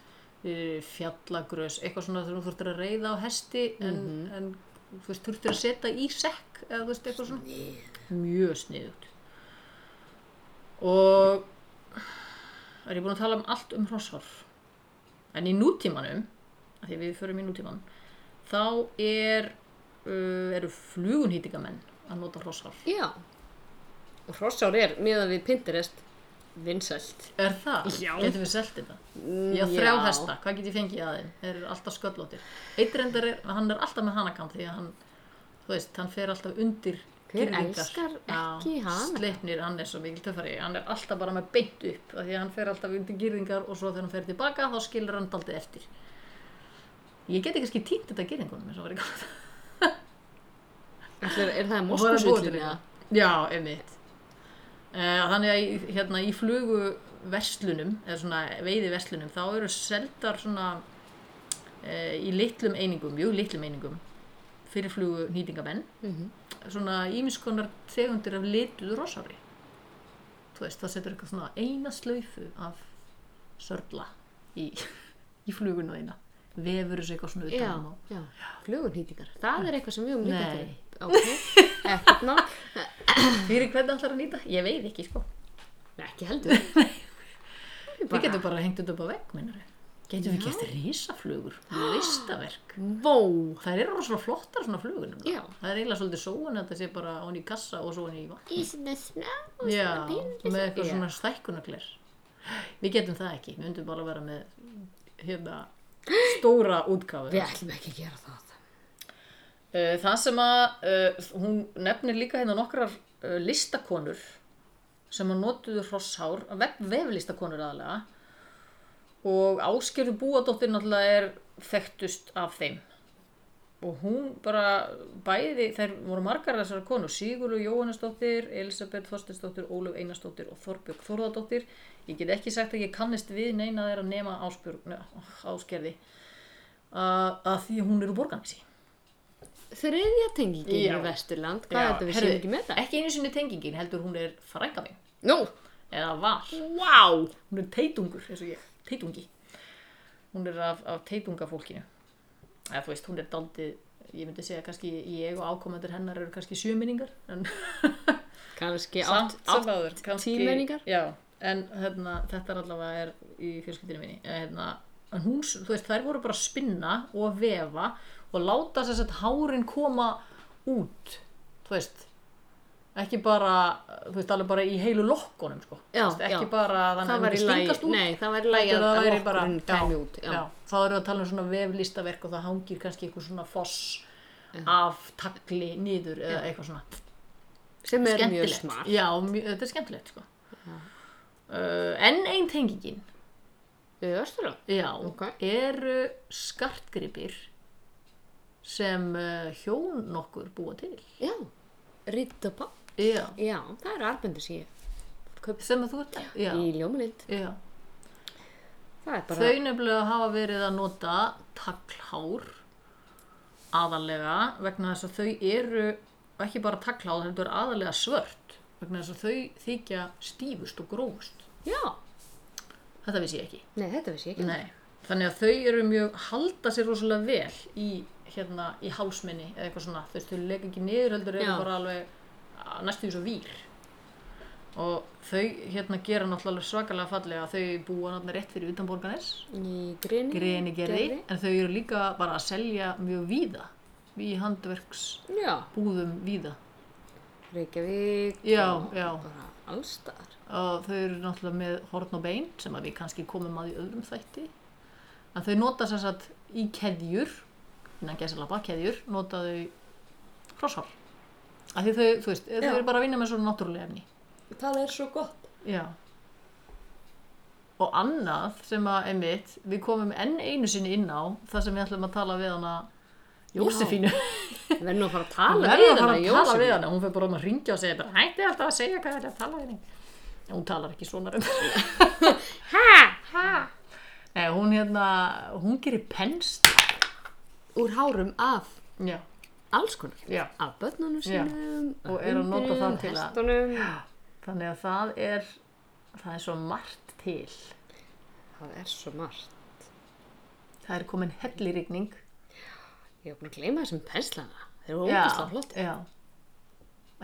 [SPEAKER 3] fjallagrös, eitthvað svona þegar þú þurftir að reyða á hesti en, en þú veist, þurftir að setja í sekk eða þú veist, eitthvað svona mjög sniðut og er ég búin að tala um allt um hrossar en í nútímanum af því að við förum í nútíman þá er, uh, eru flugunhýtingamenn að nota hrossar
[SPEAKER 4] Já. Og hrossár er, miðað við Pinterest, vinsælt.
[SPEAKER 3] Er það?
[SPEAKER 4] Já.
[SPEAKER 3] Getum við selt þetta?
[SPEAKER 4] Mm,
[SPEAKER 3] Ég á þrjá
[SPEAKER 4] já.
[SPEAKER 3] hesta, hvað get ég fengið að þeim? Þeir eru alltaf sköllóttir. Eitt reyndar er, hann er alltaf með hanakant því að hann, þú veist, hann fer alltaf undir
[SPEAKER 4] Hver
[SPEAKER 3] girðingar.
[SPEAKER 4] elskar
[SPEAKER 3] Já,
[SPEAKER 4] ekki hana?
[SPEAKER 3] Sleipnir, hann er svo mikil töffari, hann er alltaf bara með beint upp af því að hann fer alltaf undir girðingar og svo þegar hann fer tilbaka þá skilur hann daldið eftir. Ég geti kannski týnt þetta girðingunum eins og var í góð.
[SPEAKER 4] Ætlar, er það
[SPEAKER 3] Og það er búið til
[SPEAKER 4] moskusullin?
[SPEAKER 3] þetta. Já, einmitt. Uh, þannig að í- hérna, í flugu verslunum, eða svona veiði verslunum, þá eru seldar svona uh, í litlum einingum, mjög litlum einingum, fyrir flugu nýtingamenn,
[SPEAKER 4] Mhm.
[SPEAKER 3] svona ímiskonar tegundir af lituð rosári. Þú veist, það setur eitthvað svona eina slaufu af sörla í, <laughs> í fluguna þína. Vefur þessu eitthvað svona um
[SPEAKER 4] Já,
[SPEAKER 3] utanum og...
[SPEAKER 4] já. Flugunhýtingar. Það er eitthvað sem við um líka
[SPEAKER 3] Nei.
[SPEAKER 4] til. Ok, ekkert ná. <laughs>
[SPEAKER 3] Fyrir hvernig ætlar að nýta? Ég veit ekki, sko.
[SPEAKER 4] Ekki heldur.
[SPEAKER 3] Við getum bara hengt þetta upp á vegg, minnur við. Getum við gert risaflugur, <gasps> listaverk.
[SPEAKER 4] Vó.
[SPEAKER 3] Það eru rosalega flottar svona flugur. nefnilega.
[SPEAKER 4] Já.
[SPEAKER 3] Það er eiginlega svolítið sóun að þetta sé bara onni í kassa og svo onni í vatn.
[SPEAKER 4] Ísinn er snö og
[SPEAKER 3] Já,
[SPEAKER 4] svona pínlítið.
[SPEAKER 3] með eitthvað
[SPEAKER 4] Já.
[SPEAKER 3] svona stækkunagler. Við getum það ekki, við undum bara að vera með hérna stóra útgáfu.
[SPEAKER 4] Við ætlum ekki að gera það.
[SPEAKER 3] Uh, það sem að uh, hún nefnir líka hérna nokkrar uh, listakonur sem að notuðu hrosshár, vef, veflistakonur aðalega og Áskerðu Búadóttir náttúrulega er þekktust af þeim og hún bara bæði, þær voru margar þessar konur, Sigurlu Jóhannesdóttir Elisabeth Þorstinsdóttir, Ólöf Einarsdóttir og Þorbjörg Þórðardóttir ég get ekki sagt að ég kannist við neina þeirra nema Ásbjörg, neða, Áskerði uh, að því hún er úr borganessi
[SPEAKER 4] Þriðja tengingin
[SPEAKER 3] Já.
[SPEAKER 4] er Vesturland. Hvað er þetta við
[SPEAKER 3] herðu,
[SPEAKER 4] séum ekki með það?
[SPEAKER 3] Ekki einu sinni tengingin, heldur hún er frænga mín.
[SPEAKER 4] Nú,
[SPEAKER 3] Eða var.
[SPEAKER 4] vá!
[SPEAKER 3] Hún er teitungur, eins og ég. Teitungi. Hún er af, af teitungafólkinu. Eða þú veist, hún er daldið, ég myndi segja kannski ég og ákomendur hennar eru kannski sjöminningar. En
[SPEAKER 4] Kanski átt, átt
[SPEAKER 3] áður, kannski.
[SPEAKER 4] tímenningar?
[SPEAKER 3] Já, en hérna, þetta er allavega er í fjölskyldinu minni. En, Hérna, en hún, s- þú veist, þær voru bara að spinna og að vefa og láta þess að hárin koma út, þú veist, ekki bara, þú veist, alveg bara í heilu lokkunum, sko.
[SPEAKER 4] Já,
[SPEAKER 3] Þú veist, ekki
[SPEAKER 4] já.
[SPEAKER 3] bara að
[SPEAKER 4] það
[SPEAKER 3] hann
[SPEAKER 4] var í lagi.
[SPEAKER 3] stingast út.
[SPEAKER 4] Nei, það var í lagi
[SPEAKER 3] heldur
[SPEAKER 4] að
[SPEAKER 3] það
[SPEAKER 4] að
[SPEAKER 3] væri bara,
[SPEAKER 4] lokkurinn kæmi út. Já.
[SPEAKER 3] já, þá erum við að tala um svona veflistaverk og það hangir kannski eitthvað svona foss af tagli nýður eða eitthvað svona
[SPEAKER 4] Sem er mjög
[SPEAKER 3] skemmtilegt.
[SPEAKER 4] smart.
[SPEAKER 3] Já, mjö, þetta er skemmtilegt sko. uh, En ein tengingin
[SPEAKER 4] Við Vesturland?
[SPEAKER 3] já,
[SPEAKER 4] Ok.
[SPEAKER 3] eru skartgripir sem uh, hjón nokkur búa til
[SPEAKER 4] Já. Rýtt og pá.
[SPEAKER 3] já.
[SPEAKER 4] Já, það er arbendis ég. Kaup
[SPEAKER 3] sem að þú ert já.
[SPEAKER 4] í ljómulind.
[SPEAKER 3] Já.
[SPEAKER 2] Það er bara,
[SPEAKER 3] Þau nefnilega hafa verið að nota taglhár aðalega vegna þess að þau eru ekki bara taglhár, heldur aðalega svört vegna þess að þau þykja stífust og grófust.
[SPEAKER 2] já,
[SPEAKER 3] Þetta vissi ég ekki.
[SPEAKER 2] nei þetta vissi ég ekki.
[SPEAKER 3] Nei. Þannig að þau eru mjög, halda sér rosalega vel í, hérna, í hálsminni eða eitthvað svona. Þú veist, þau leika ekki niður heldur eru
[SPEAKER 2] Já.
[SPEAKER 3] bara alveg að- næstu því svo vír. Og þau hérna gera náttúrulega svakalega fallega að þau búa náttúrulega rétt fyrir utanborganis.
[SPEAKER 2] Í grini.
[SPEAKER 3] greini gerði, en þau eru líka bara að selja mjög víða í handverksbúðum
[SPEAKER 2] Já,
[SPEAKER 3] víða
[SPEAKER 2] Reykjavík.
[SPEAKER 3] Já,
[SPEAKER 2] og
[SPEAKER 3] já.
[SPEAKER 2] Bara allstar.
[SPEAKER 3] og þau eru náttúrulega með horn og bein sem að við kannski komum að í öðrum þætti en þau nota sér satt í keðjur innan gæsalappa, keðjur nota þau krosshár af því þau, þú veist, þau
[SPEAKER 2] Já.
[SPEAKER 3] eru bara að vinna með svona náttúrulega efni
[SPEAKER 2] Það er svo gott.
[SPEAKER 3] Já. Og annað sem að, einmitt, við komum enn einu sinni inn á það sem við ætlum að tala við hana Jósefínu.
[SPEAKER 2] Við verðum nú að fara að tala
[SPEAKER 3] Hún
[SPEAKER 2] við
[SPEAKER 3] verður að
[SPEAKER 2] hana,
[SPEAKER 3] fara að tala við hana, hún fyrir bara um að ringja og segja bara hætti alltaf að segja hvað þetta er að tala við henni. En hún talar ekki svona um reyndar.
[SPEAKER 2] Hæ?
[SPEAKER 3] Nei, hún hérna, hún gerir penst.
[SPEAKER 2] Úr hárum af
[SPEAKER 3] Já,
[SPEAKER 2] alls konar.
[SPEAKER 3] já.
[SPEAKER 2] Af börnunum
[SPEAKER 3] Já.
[SPEAKER 2] sínum,
[SPEAKER 3] Og er að nota það til að-
[SPEAKER 2] Hestunum.
[SPEAKER 3] Þannig að það er, það er svo margt til.
[SPEAKER 2] Það er svo margt.
[SPEAKER 3] Það er komin hellirigning.
[SPEAKER 2] Ég er búin að gleyma þessum penslana. Þeir eru
[SPEAKER 3] Já,
[SPEAKER 2] ógæslega flott.
[SPEAKER 3] Já.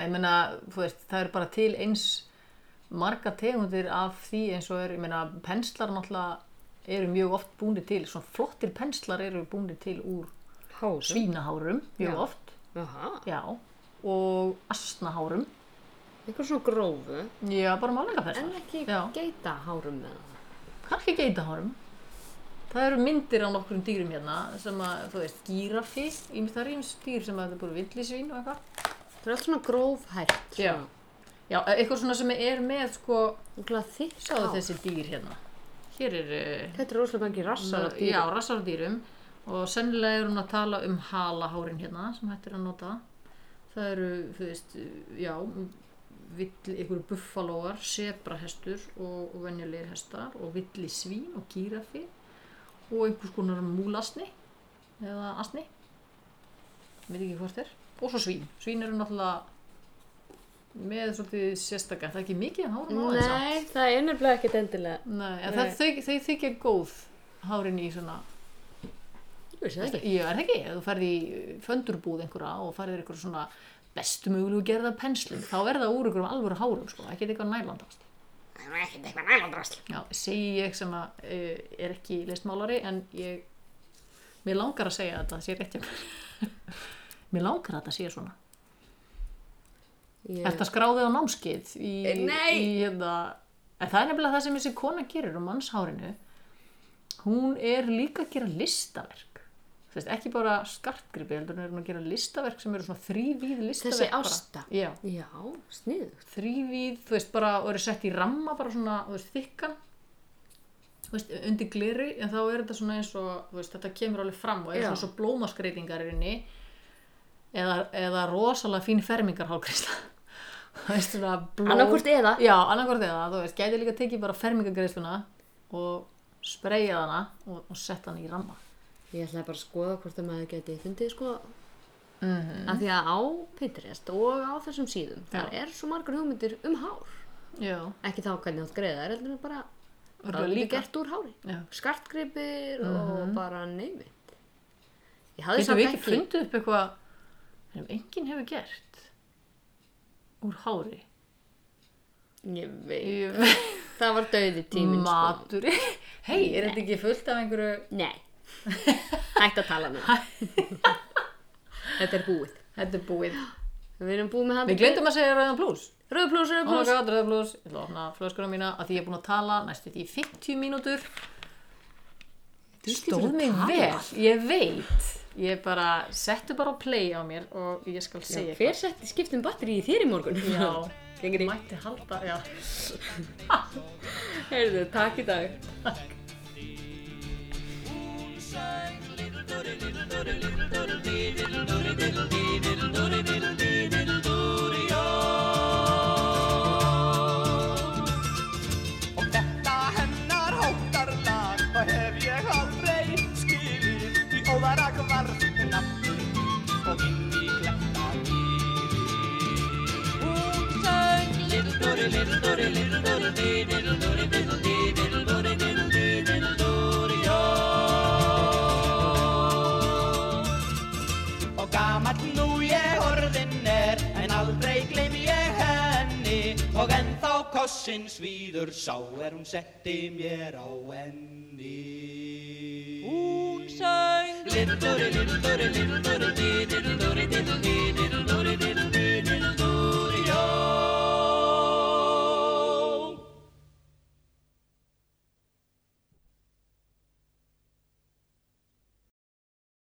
[SPEAKER 3] Ég meina, þú veist, það er bara til eins marga tegundir af því eins og er, ég meina, penslar náttúrulega eru mjög oft búinir til, svona flottir penslar eru búinir til úr
[SPEAKER 2] Hárum.
[SPEAKER 3] svínahárum mjög
[SPEAKER 2] Já.
[SPEAKER 3] oft.
[SPEAKER 2] Jaha,
[SPEAKER 3] Já, og asnahárum.
[SPEAKER 2] einhver svona grófu,
[SPEAKER 3] Já, bara málingafessar.
[SPEAKER 2] en ekki
[SPEAKER 3] Já,
[SPEAKER 2] geita hárum með það.
[SPEAKER 3] kannski geitahárum. Það eru myndir á nokkrum dýrum hérna sem að, þú veist, gírafi, ýmis- það eru ímst dýr sem að þetta er búið villisvín og eitthvað.
[SPEAKER 2] Það er allt svona grófhært,
[SPEAKER 3] Já.
[SPEAKER 2] svona,
[SPEAKER 3] Já, e, eitthvað svona sem er með, sko,
[SPEAKER 2] úrlega þykk
[SPEAKER 3] sjáðu
[SPEAKER 2] hár.
[SPEAKER 3] þessi dýr hérna. Hér er, uh,
[SPEAKER 2] Þetta er rosalega mikið rassar af dýrum.
[SPEAKER 3] já, rassar á dýrum og sennilega er hún að tala um halahárin hérna sem hægt er að nota. Það eru, þú veist, já, vill, ykkur buffalóar, sebrahestur og, og venjulegir hestar og villi svín og gírafi og einhvers konar múlasni eða asni, veit ekki hvort er, og svo svín. Svín eru náttúrulega með svolítið sérstakar, það er ekki mikið en hárum á þeim samt.
[SPEAKER 2] Nei, það er nefnilega ekkert endilega.
[SPEAKER 3] Nei, en
[SPEAKER 2] Nei.
[SPEAKER 3] það, þau, þau þykja góð hárin í svona
[SPEAKER 2] Ég vissi það
[SPEAKER 3] Ég
[SPEAKER 2] ekki.
[SPEAKER 3] er það ekki, ef þú ferð í föndurbúð einhverja og farið einhverja svona bestu mögulegu gerða penslum, þá er það úr einhverjum alvöru hárum, sko, ekki eitthvað nælandast.
[SPEAKER 2] Það er ekkert eitthvað nælandrasl.
[SPEAKER 3] Já, segi ég sem að uh, er ekki listmálari, en ég, mér langar að segja þetta, það sé rétt hjá mér. <laughs> mér langar að þetta sé svona.
[SPEAKER 2] Ég-
[SPEAKER 3] Yeah. Þetta skráðið á námskeið í,
[SPEAKER 2] Nei.
[SPEAKER 3] í hérna, en það er nefnilega það sem þessi kona gerir um mannshárinu. Hún er líka að gera listaverk. Þú veist, ekki bara skartgripi, heldur hún er hún að gera listaverk sem eru svona þrývíð listaverk.
[SPEAKER 2] Þessi
[SPEAKER 3] bara.
[SPEAKER 2] ásta.
[SPEAKER 3] Já,
[SPEAKER 2] Já, sniðugt.
[SPEAKER 3] þrývíð, þú veist, bara og eru sett í ramma, bara svona, þú veist, þykkan. Þú veist, undir gleri, en þá er þetta svona eins og, þú veist, þetta kemur alveg fram og er
[SPEAKER 2] Já.
[SPEAKER 3] svona svo blómaskreitingar í inni. Eða, eða rosalega fín fermingarhálkrisla. <laughs> Þú veist, svona blóm.
[SPEAKER 2] Annarkvort eða.
[SPEAKER 3] Já, annarkvort eða, þú veist, gæti líka tekið bara fermingargreiðsluna og spreyja hana og, og sett hana í ramma.
[SPEAKER 2] Ég ætlaði bara að skoða hvort að maður geti fundið sko af því að á Pinterest og á þessum síðum þar
[SPEAKER 3] Mhm. Já.
[SPEAKER 2] er svo margar hugmyndir um hár
[SPEAKER 3] Já,
[SPEAKER 2] ekki þá hvernig átt greiða er heldur en bara
[SPEAKER 3] Örugglega
[SPEAKER 2] það er
[SPEAKER 3] líka. Mhm.
[SPEAKER 2] gert úr hári
[SPEAKER 3] já.
[SPEAKER 2] skartgripir og bara neymi Ég hafði
[SPEAKER 3] Getum
[SPEAKER 2] samt
[SPEAKER 3] við ekki
[SPEAKER 2] ekki
[SPEAKER 3] fundið upp eitthvað sem enginn hefur gert úr hári?
[SPEAKER 2] Ég veit,
[SPEAKER 3] <laughs> Ég-
[SPEAKER 2] það var dauði tíminn sko.
[SPEAKER 3] Matur Hei, er þetta ekki fullt af einhverju <laughs>
[SPEAKER 2] Nei, hægt að tala með það. Þetta er búið
[SPEAKER 3] Þetta er búið
[SPEAKER 2] Við erum búið með hann
[SPEAKER 3] Við Oh glemdum að segja rauðan plús
[SPEAKER 2] Rauð pluss, rauð
[SPEAKER 3] Rauðan
[SPEAKER 2] pluss
[SPEAKER 3] plús, rauðan plús Ég ætla að opna flöskuna mína að því ég er búin að tala næstu því í 50 mínútur Stóð mig vel, ég veit Ég bara, settu bara á play á mér og ég skal segja
[SPEAKER 2] Hver setti skiptum batteri í þér í morgun?
[SPEAKER 3] Já.
[SPEAKER 2] <laughs> Gengri.
[SPEAKER 3] Mætti halda, já
[SPEAKER 2] Heyrðu, takk í dag.
[SPEAKER 1] Og þetta hennar hóttarlag var Og gamall nú ég orðin er En aldrei gleym ég henni Og ennþá kossin svíður sá Er hún setti mér á enni Hún söng Lindurri, lindurri, lindurri, lindurri, lindurri, lindurri